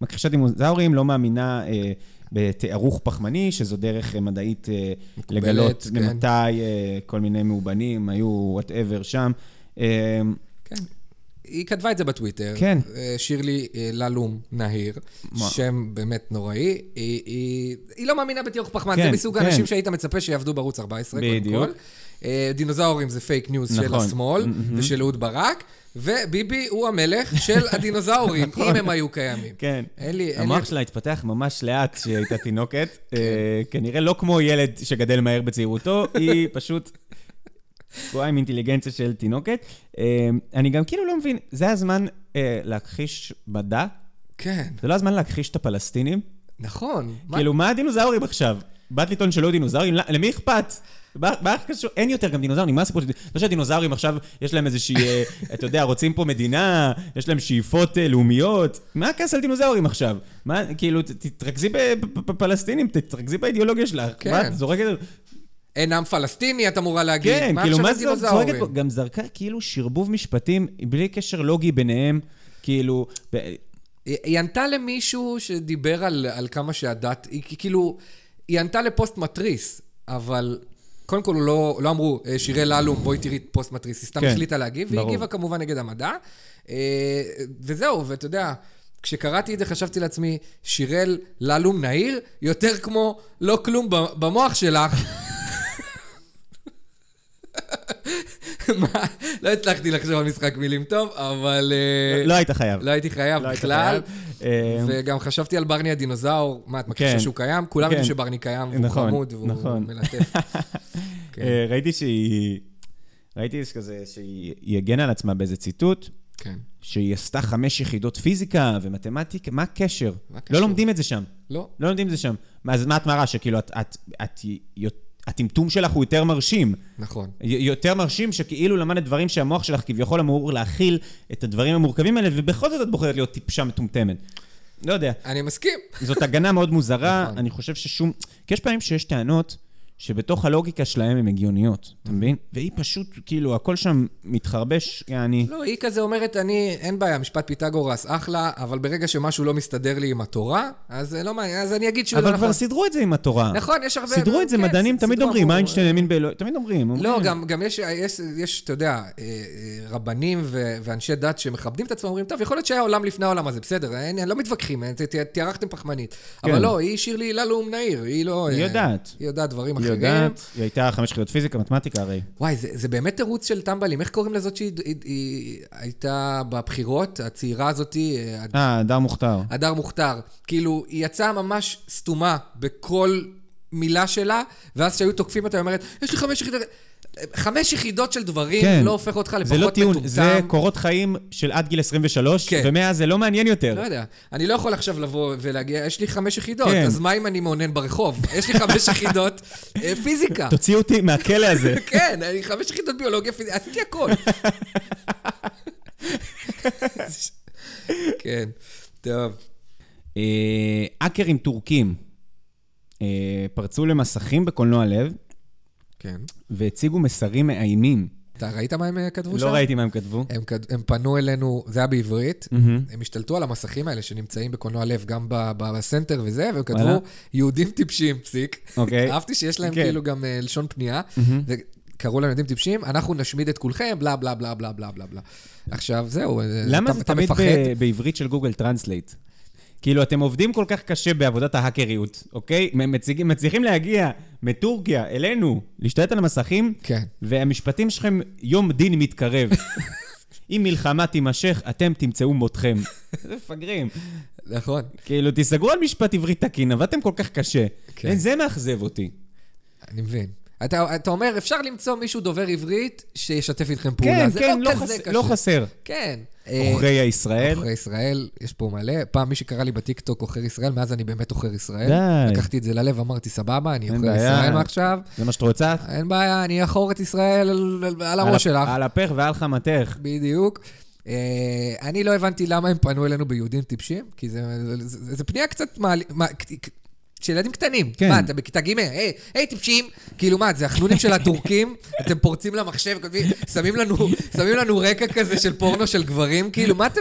[SPEAKER 3] מכחישה דינוזאורים, לא מאמינה אה, בתערוך פחמני, שזו דרך אה, מדעית אה,
[SPEAKER 2] מקובלת,
[SPEAKER 3] לגלות
[SPEAKER 2] כן.
[SPEAKER 3] ממתי אה, כל מיני מאובנים היו וואטאבר שם. אה,
[SPEAKER 2] כן. היא כתבה את זה בטוויטר.
[SPEAKER 3] כן.
[SPEAKER 2] אה, שירלי אה, ללום נהיר,
[SPEAKER 3] מה?
[SPEAKER 2] שם באמת נוראי. היא- היא היא לא מאמינה בתיאור פחמן, זה
[SPEAKER 3] כן,
[SPEAKER 2] מסוג
[SPEAKER 3] כן.
[SPEAKER 2] האנשים שהיית מצפה שיעבדו בערוץ 14, קודם
[SPEAKER 3] בדיוק.
[SPEAKER 2] כל. אה, דינוזאורים זה פייק ניוז של
[SPEAKER 3] נכון.
[SPEAKER 2] השמאל ושל אהוד ברק, וביבי הוא המלך של
[SPEAKER 3] [laughs]
[SPEAKER 2] הדינוזאורים, אם הם היו קיימים.
[SPEAKER 3] נכון. כן.
[SPEAKER 2] אין לי... אין לי-
[SPEAKER 3] המוח שלה התפתח ממש לאט כשהיא הייתה תינוקת. אה, כנראה לא כמו ילד שגדל מהר בצעירותו, היא פשוט תקועה עם אינטליגנציה של תינוקת. אה, אני גם כאילו לא מבין, זה הזמן אה, להכחיש מדע?
[SPEAKER 2] כן,
[SPEAKER 3] זה לא הזמן להכחיש את הפלסטינים?
[SPEAKER 2] נכון. מה-
[SPEAKER 3] כאילו, מה הדינוזאורים עכשיו? באת לטעון שלא היו דינוזאורים? לא- למי אכפת? מה- מה קשור? אין יותר גם דינוזאורים, מה הסיפור של... לא שהדינוזאורים עכשיו, יש להם איזושהי,
[SPEAKER 2] [laughs]
[SPEAKER 3] אה, אתה יודע, רוצים פה מדינה, יש להם שאיפות אה, לאומיות. מה הכעס על דינוזאורים עכשיו? מה, כאילו, ת- תתרכזי בפלסטינים, תתרכזי באידיאולוגיה שלך.
[SPEAKER 2] כן.
[SPEAKER 3] מה, את זורקת...
[SPEAKER 2] אין עם פלסטיני, את אמורה להגיד.
[SPEAKER 3] כן, כאילו,
[SPEAKER 2] עכשיו
[SPEAKER 3] מה זה את
[SPEAKER 2] הדינוזאורים?
[SPEAKER 3] זורקת פה? גם זרקה כאילו שרבוב משפטים בלי קשר לוגי ביניהם, כאילו... ב-
[SPEAKER 2] היא היא ענתה למישהו שדיבר על, על כמה שהדת, היא כ- כאילו, היא ענתה לפוסט מתריס, אבל קודם כל הוא לא, לא אמרו, "אה, שיראל ללום, בואי תראי את פוסט מתריס, היא סתם
[SPEAKER 3] כן,
[SPEAKER 2] החליטה להגיב, והיא
[SPEAKER 3] ברור.
[SPEAKER 2] הגיבה כמובן נגד המדע, אה, וזהו, ואתה יודע... כשקראתי את זה חשבתי לעצמי, שיראל ללום נהיר, יותר כמו לא כלום ב- במוח שלך. [laughs] מה? לא הצלחתי לחשוב על משחק מילים טוב, אבל... אה,
[SPEAKER 3] לא היית חייב.
[SPEAKER 2] לא הייתי חייב
[SPEAKER 3] לא היית
[SPEAKER 2] בכלל.
[SPEAKER 3] חייב. אה,
[SPEAKER 2] וגם חשבתי על ברני הדינוזאור, מה, את מכירה
[SPEAKER 3] כן.
[SPEAKER 2] שהוא קיים? כולם ידעו
[SPEAKER 3] כן.
[SPEAKER 2] שברני קיים, והוא
[SPEAKER 3] נכון,
[SPEAKER 2] חמוד, והוא
[SPEAKER 3] נכון. [laughs]
[SPEAKER 2] מלטף. כן.
[SPEAKER 3] אה, ראיתי שהיא... ראיתי איזה כזה שהיא היא הגנה על עצמה באיזה ציטוט,
[SPEAKER 2] כן.
[SPEAKER 3] שהיא עשתה חמש יחידות פיזיקה ומתמטיקה, מה הקשר?
[SPEAKER 2] מה הקשר?
[SPEAKER 3] לא לומדים את זה שם.
[SPEAKER 2] לא.
[SPEAKER 3] לא לומדים את זה שם. מה- אז מה את מראה? שכאילו, את- את- את- הטמטום שלך הוא יותר מרשים.
[SPEAKER 2] נכון.
[SPEAKER 3] י- יותר מרשים שכאילו למדת דברים שהמוח שלך כביכול אמור להכיל את הדברים המורכבים האלה, ובכל זאת את בוחרת להיות טיפשה מטומטמת. לא יודע.
[SPEAKER 2] אני מסכים.
[SPEAKER 3] זאת הגנה מאוד מוזרה,
[SPEAKER 2] נכון.
[SPEAKER 3] אני חושב ששום... כי יש פעמים שיש טענות שבתוך הלוגיקה שלהם הן הגיוניות, אתה מבין? והיא פשוט, כאילו, הכל שם מתחרבש, יעני...
[SPEAKER 2] לא, היא כזה אומרת, אני, אין בעיה, משפט פיתגורס אחלה, אבל ברגע שמשהו לא מסתדר לי עם התורה, אז זה לא מעניין, אז אני אגיד שהוא לא
[SPEAKER 3] אבל
[SPEAKER 2] נכון.
[SPEAKER 3] כבר סידרו את זה עם התורה.
[SPEAKER 2] נכון, יש הרבה...
[SPEAKER 3] סידרו את זה,
[SPEAKER 2] כן,
[SPEAKER 3] מדענים
[SPEAKER 2] סידרו
[SPEAKER 3] תמיד אומרים,
[SPEAKER 2] עבור-
[SPEAKER 3] איינשטיין האמין באלוהים, תמיד אומרים.
[SPEAKER 2] לא,
[SPEAKER 3] אומרים.
[SPEAKER 2] גם, גם יש, יש, יש, אתה יודע, אה, אה, רבנים ו- ואנשי דת שמכבדים את עצמם, אומרים, טוב, יכול להיות שהיה עולם לפני העולם הזה, בסדר, אין, אין, לא מתווכחים, אין, ת- ת- תיארכתם פחמנית.
[SPEAKER 3] כן.
[SPEAKER 2] אבל לא, היא שירלי ללום נהיר, היא לא...
[SPEAKER 3] היא
[SPEAKER 2] אה,
[SPEAKER 3] יודעת.
[SPEAKER 2] היא יודעת דברים
[SPEAKER 3] היא
[SPEAKER 2] אחרים.
[SPEAKER 3] יודעת, היא הייתה חמש יחידות פיזיקה, מתמטיקה הרי.
[SPEAKER 2] וואי, זה, זה באמת תירוץ של טמבלים. איך קוראים לזאת שהיא היא, היא, הייתה בבחירות, הצעירה הזאת, אה,
[SPEAKER 3] אה, הדר מוכתר.
[SPEAKER 2] הדר מוכתר. כאילו, היא יצאה ממש סתומה בכל מילה שלה, ואז כשהיו תוקפים אותה, היא אומרת, יש לי חמש יחידות... חמש יחידות של דברים
[SPEAKER 3] כן.
[SPEAKER 2] לא הופך אותך לפחות
[SPEAKER 3] זה לא טיעון,
[SPEAKER 2] מטומטם.
[SPEAKER 3] זה קורות חיים של עד גיל 23,
[SPEAKER 2] כן.
[SPEAKER 3] ומאז זה לא מעניין
[SPEAKER 2] לא
[SPEAKER 3] יותר.
[SPEAKER 2] יודע. אני לא יכול עכשיו לבוא ולהגיע, יש לי חמש יחידות,
[SPEAKER 3] כן.
[SPEAKER 2] אז מה אם אני מעונן ברחוב? יש לי חמש יחידות אה,
[SPEAKER 3] [laughs]
[SPEAKER 2] פיזיקה.
[SPEAKER 3] תוציאו אותי מהכלא הזה.
[SPEAKER 2] [laughs] כן, אני חמש יחידות ביולוגיה, פיזיקה, עשיתי
[SPEAKER 3] [laughs]
[SPEAKER 2] הכל. כן, טוב.
[SPEAKER 3] אה, האקרים טורקים אה, פרצו למסכים בקולנוע לב
[SPEAKER 2] כן.
[SPEAKER 3] והציגו מסרים מאיימים.
[SPEAKER 2] אתה ראית מה הם אה, כתבו שם? אה,
[SPEAKER 3] לא ראיתי מה הם כתבו.
[SPEAKER 2] הם, כד- הם פנו אלינו, זה היה בעברית, הם השתלטו על המסכים האלה שנמצאים בקולנוע לב, גם ב- ב- בסנטר וזה, והם
[SPEAKER 3] וואלה.
[SPEAKER 2] כתבו, יהודים טיפשים, פסיק.
[SPEAKER 3] אוקיי.
[SPEAKER 2] אהבתי שיש להם
[SPEAKER 3] כן.
[SPEAKER 2] כאילו גם אה, לשון פנייה, וקראו להם יהודים טיפשים, אנחנו נשמיד את כולכם, בלה בלה בלה בלה בלה בלה. בלה. עכשיו, זהו, אה,
[SPEAKER 3] למה
[SPEAKER 2] אתה-
[SPEAKER 3] זה
[SPEAKER 2] אתה
[SPEAKER 3] תמיד
[SPEAKER 2] מפחד?
[SPEAKER 3] ב- בעברית של גוגל טרנסלייט? כאילו, אתם עובדים כל כך קשה בעבודת ההאקריות, אוקיי? מ- מציגים- מצליחים להגיע מטורקיה אלינו, להשתלט על המסכים,
[SPEAKER 2] כן.
[SPEAKER 3] והמשפטים שלכם, יום דין
[SPEAKER 2] [laughs]
[SPEAKER 3] מתקרב. אם מלחמה תימשך, אתם תמצאו
[SPEAKER 2] [laughs]
[SPEAKER 3] מותכם. איזה מפגרים.
[SPEAKER 2] נכון.
[SPEAKER 3] כאילו, תיסגרו על משפט עברי תקין, עבדתם כל כך קשה.
[SPEAKER 2] כן.
[SPEAKER 3] כן. זה מאכזב אותי.
[SPEAKER 2] אני מבין. אתה, אתה אומר, אפשר למצוא מישהו דובר עברית שישתף איתכם פעולה.
[SPEAKER 3] כן,
[SPEAKER 2] זה
[SPEAKER 3] כן,
[SPEAKER 2] לא,
[SPEAKER 3] לא,
[SPEAKER 2] כזה
[SPEAKER 3] חס...
[SPEAKER 2] קשה.
[SPEAKER 3] לא חסר.
[SPEAKER 2] כן.
[SPEAKER 3] עוכרי הישראל.
[SPEAKER 2] עוכרי ישראל, יש פה מלא. פעם מי שקרא לי בטיקטוק עוכר ישראל, מאז אני באמת עוכר ישראל.
[SPEAKER 3] די.
[SPEAKER 2] לקחתי את זה ללב, אמרתי, סבבה, אני
[SPEAKER 3] אין
[SPEAKER 2] עוכר
[SPEAKER 3] בעיה.
[SPEAKER 2] ישראל מעכשיו.
[SPEAKER 3] זה מה שאת רוצה?
[SPEAKER 2] אין בעיה, אני אחור את ישראל על- על- על
[SPEAKER 3] על-
[SPEAKER 2] הראש שלך.
[SPEAKER 3] על הפך ועל חמתך.
[SPEAKER 2] בדיוק. אה, אני לא הבנתי למה הם פנו אלינו ביהודים טיפשים, כי זה, זה, זה פנייה קצת מעל... מה, ק- של ילדים קטנים.
[SPEAKER 3] כן.
[SPEAKER 2] מה, אתה בכיתה ג', היי, היי טיפשים. כאילו, מה, זה החנונים של
[SPEAKER 3] [laughs]
[SPEAKER 2] הטורקים? אתם פורצים למחשב, כותבים, שמים לנו, שמים לנו רקע כזה של פורנו של גברים, כאילו, מה אתם...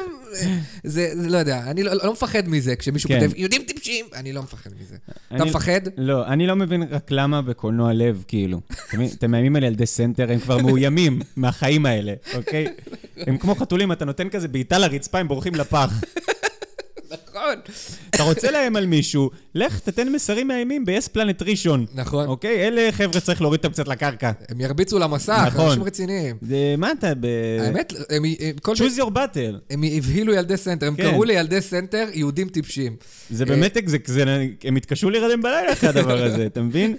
[SPEAKER 2] זה, זה לא יודע, אני לא, לא מפחד מזה. כשמישהו
[SPEAKER 3] כן.
[SPEAKER 2] כותב, יהודים טיפשים, אני לא מפחד מזה. אתה
[SPEAKER 3] אני-
[SPEAKER 2] מפחד?
[SPEAKER 3] לא, אני לא מבין רק למה בקולנוע לב, כאילו. אתם מבינים? אתם מאיימים על ילדי סנטר, הם כבר
[SPEAKER 2] [laughs]
[SPEAKER 3] מאוימים מהחיים האלה, אוקיי? הם כמו חתולים, אתה נותן כזה בעיטה לרצפה, הם בורחים לפח.
[SPEAKER 2] נכון.
[SPEAKER 3] אתה רוצה לאיים על מישהו, לך תתן מסרים מאיימים ב-yes planet ראשון.
[SPEAKER 2] נכון.
[SPEAKER 3] אוקיי? אלה חבר'ה צריך להוריד אותם קצת לקרקע.
[SPEAKER 2] הם ירביצו למסך,
[SPEAKER 3] נכון. אה,
[SPEAKER 2] אנשים רציניים.
[SPEAKER 3] זה, מה אתה ב...
[SPEAKER 2] האמת, הם, הם, כל מי-
[SPEAKER 3] choose your battle.
[SPEAKER 2] הם הבהילו ילדי סנטר, הם
[SPEAKER 3] כן.
[SPEAKER 2] קראו לילדי סנטר יהודים טיפשים.
[SPEAKER 3] זה באמת, זה- זה- הם התקשו להירדם בלילה אחרי הדבר הזה,
[SPEAKER 2] [laughs]
[SPEAKER 3] אתה מבין?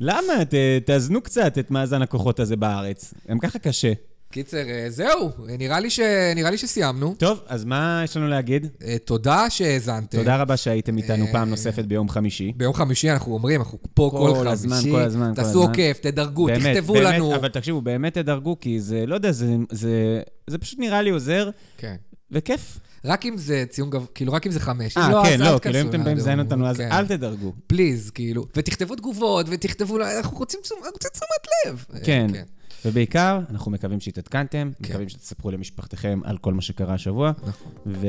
[SPEAKER 3] למה? ת- תאזנו קצת את מאזן הכוחות הזה בארץ. גם ככה קשה.
[SPEAKER 2] קיצר, אה, זהו, אה, נראה לי, ש... נראה לי שסיימנו.
[SPEAKER 3] טוב, אז מה יש לנו להגיד?
[SPEAKER 2] אה, תודה שהאזנתם.
[SPEAKER 3] תודה רבה שהייתם איתנו
[SPEAKER 2] אה,
[SPEAKER 3] פעם נוספת ביום חמישי.
[SPEAKER 2] ביום חמישי אנחנו אומרים, אנחנו פה כל,
[SPEAKER 3] כל
[SPEAKER 2] חמישי.
[SPEAKER 3] הזמן, כל הזמן, כל
[SPEAKER 2] תעשו
[SPEAKER 3] הזמן.
[SPEAKER 2] עוקף, תדרגו,
[SPEAKER 3] באמת,
[SPEAKER 2] תכתבו
[SPEAKER 3] באמת,
[SPEAKER 2] לנו.
[SPEAKER 3] אבל תקשיבו, באמת תדרגו, כי זה, לא יודע, זה- זה- זה פשוט נראה לי עוזר,
[SPEAKER 2] כן.
[SPEAKER 3] וכיף.
[SPEAKER 2] רק אם זה ציון גבוה, כאילו, רק אם זה חמש.
[SPEAKER 3] אה,
[SPEAKER 2] אם
[SPEAKER 3] כן,
[SPEAKER 2] אז אל
[SPEAKER 3] לא,
[SPEAKER 2] תכנסו
[SPEAKER 3] כאילו אם אתם באים
[SPEAKER 2] לנו.
[SPEAKER 3] לזיין אותנו, אז
[SPEAKER 2] כן.
[SPEAKER 3] אל תדרגו.
[SPEAKER 2] פליז, כאילו. ותכתבו תגובות, ותכתבו, לה- אנחנו רוצים תשומת רוצים תשומת לב. אה, כן.
[SPEAKER 3] כן. ובעיקר, אנחנו מקווים שהתעדכנתם, מקווים שתספרו למשפחתכם על כל מה שקרה השבוע.
[SPEAKER 2] נכון.
[SPEAKER 3] ו...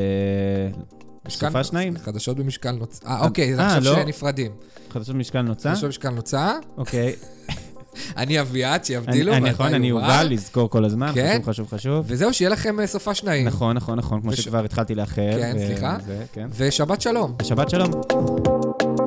[SPEAKER 2] משכן-
[SPEAKER 3] סופה שניים?
[SPEAKER 2] חדשות במשקל נוצה. אה, אוקיי, אז
[SPEAKER 3] אה,
[SPEAKER 2] עכשיו
[SPEAKER 3] לא.
[SPEAKER 2] שני נפרדים.
[SPEAKER 3] חדשות משקל נוצה?
[SPEAKER 2] חדשות במשקל נוצה. [laughs]
[SPEAKER 3] אוקיי.
[SPEAKER 2] אני אביעד,
[SPEAKER 3] אני-
[SPEAKER 2] שיבדילו.
[SPEAKER 3] אני-
[SPEAKER 2] ואתה
[SPEAKER 3] נכון, אני יובל, לזכור כל הזמן,
[SPEAKER 2] כן.
[SPEAKER 3] חשוב, חשוב, חשוב.
[SPEAKER 2] וזהו, שיהיה לכם אה, סופה שניים.
[SPEAKER 3] נכון, נכון, נכון, כמו
[SPEAKER 2] וש-
[SPEAKER 3] שכבר התחלתי לאחר.
[SPEAKER 2] כן,
[SPEAKER 3] ו-
[SPEAKER 2] סליחה.
[SPEAKER 3] זה, כן.
[SPEAKER 2] ושבת שלום.
[SPEAKER 3] שבת שלום.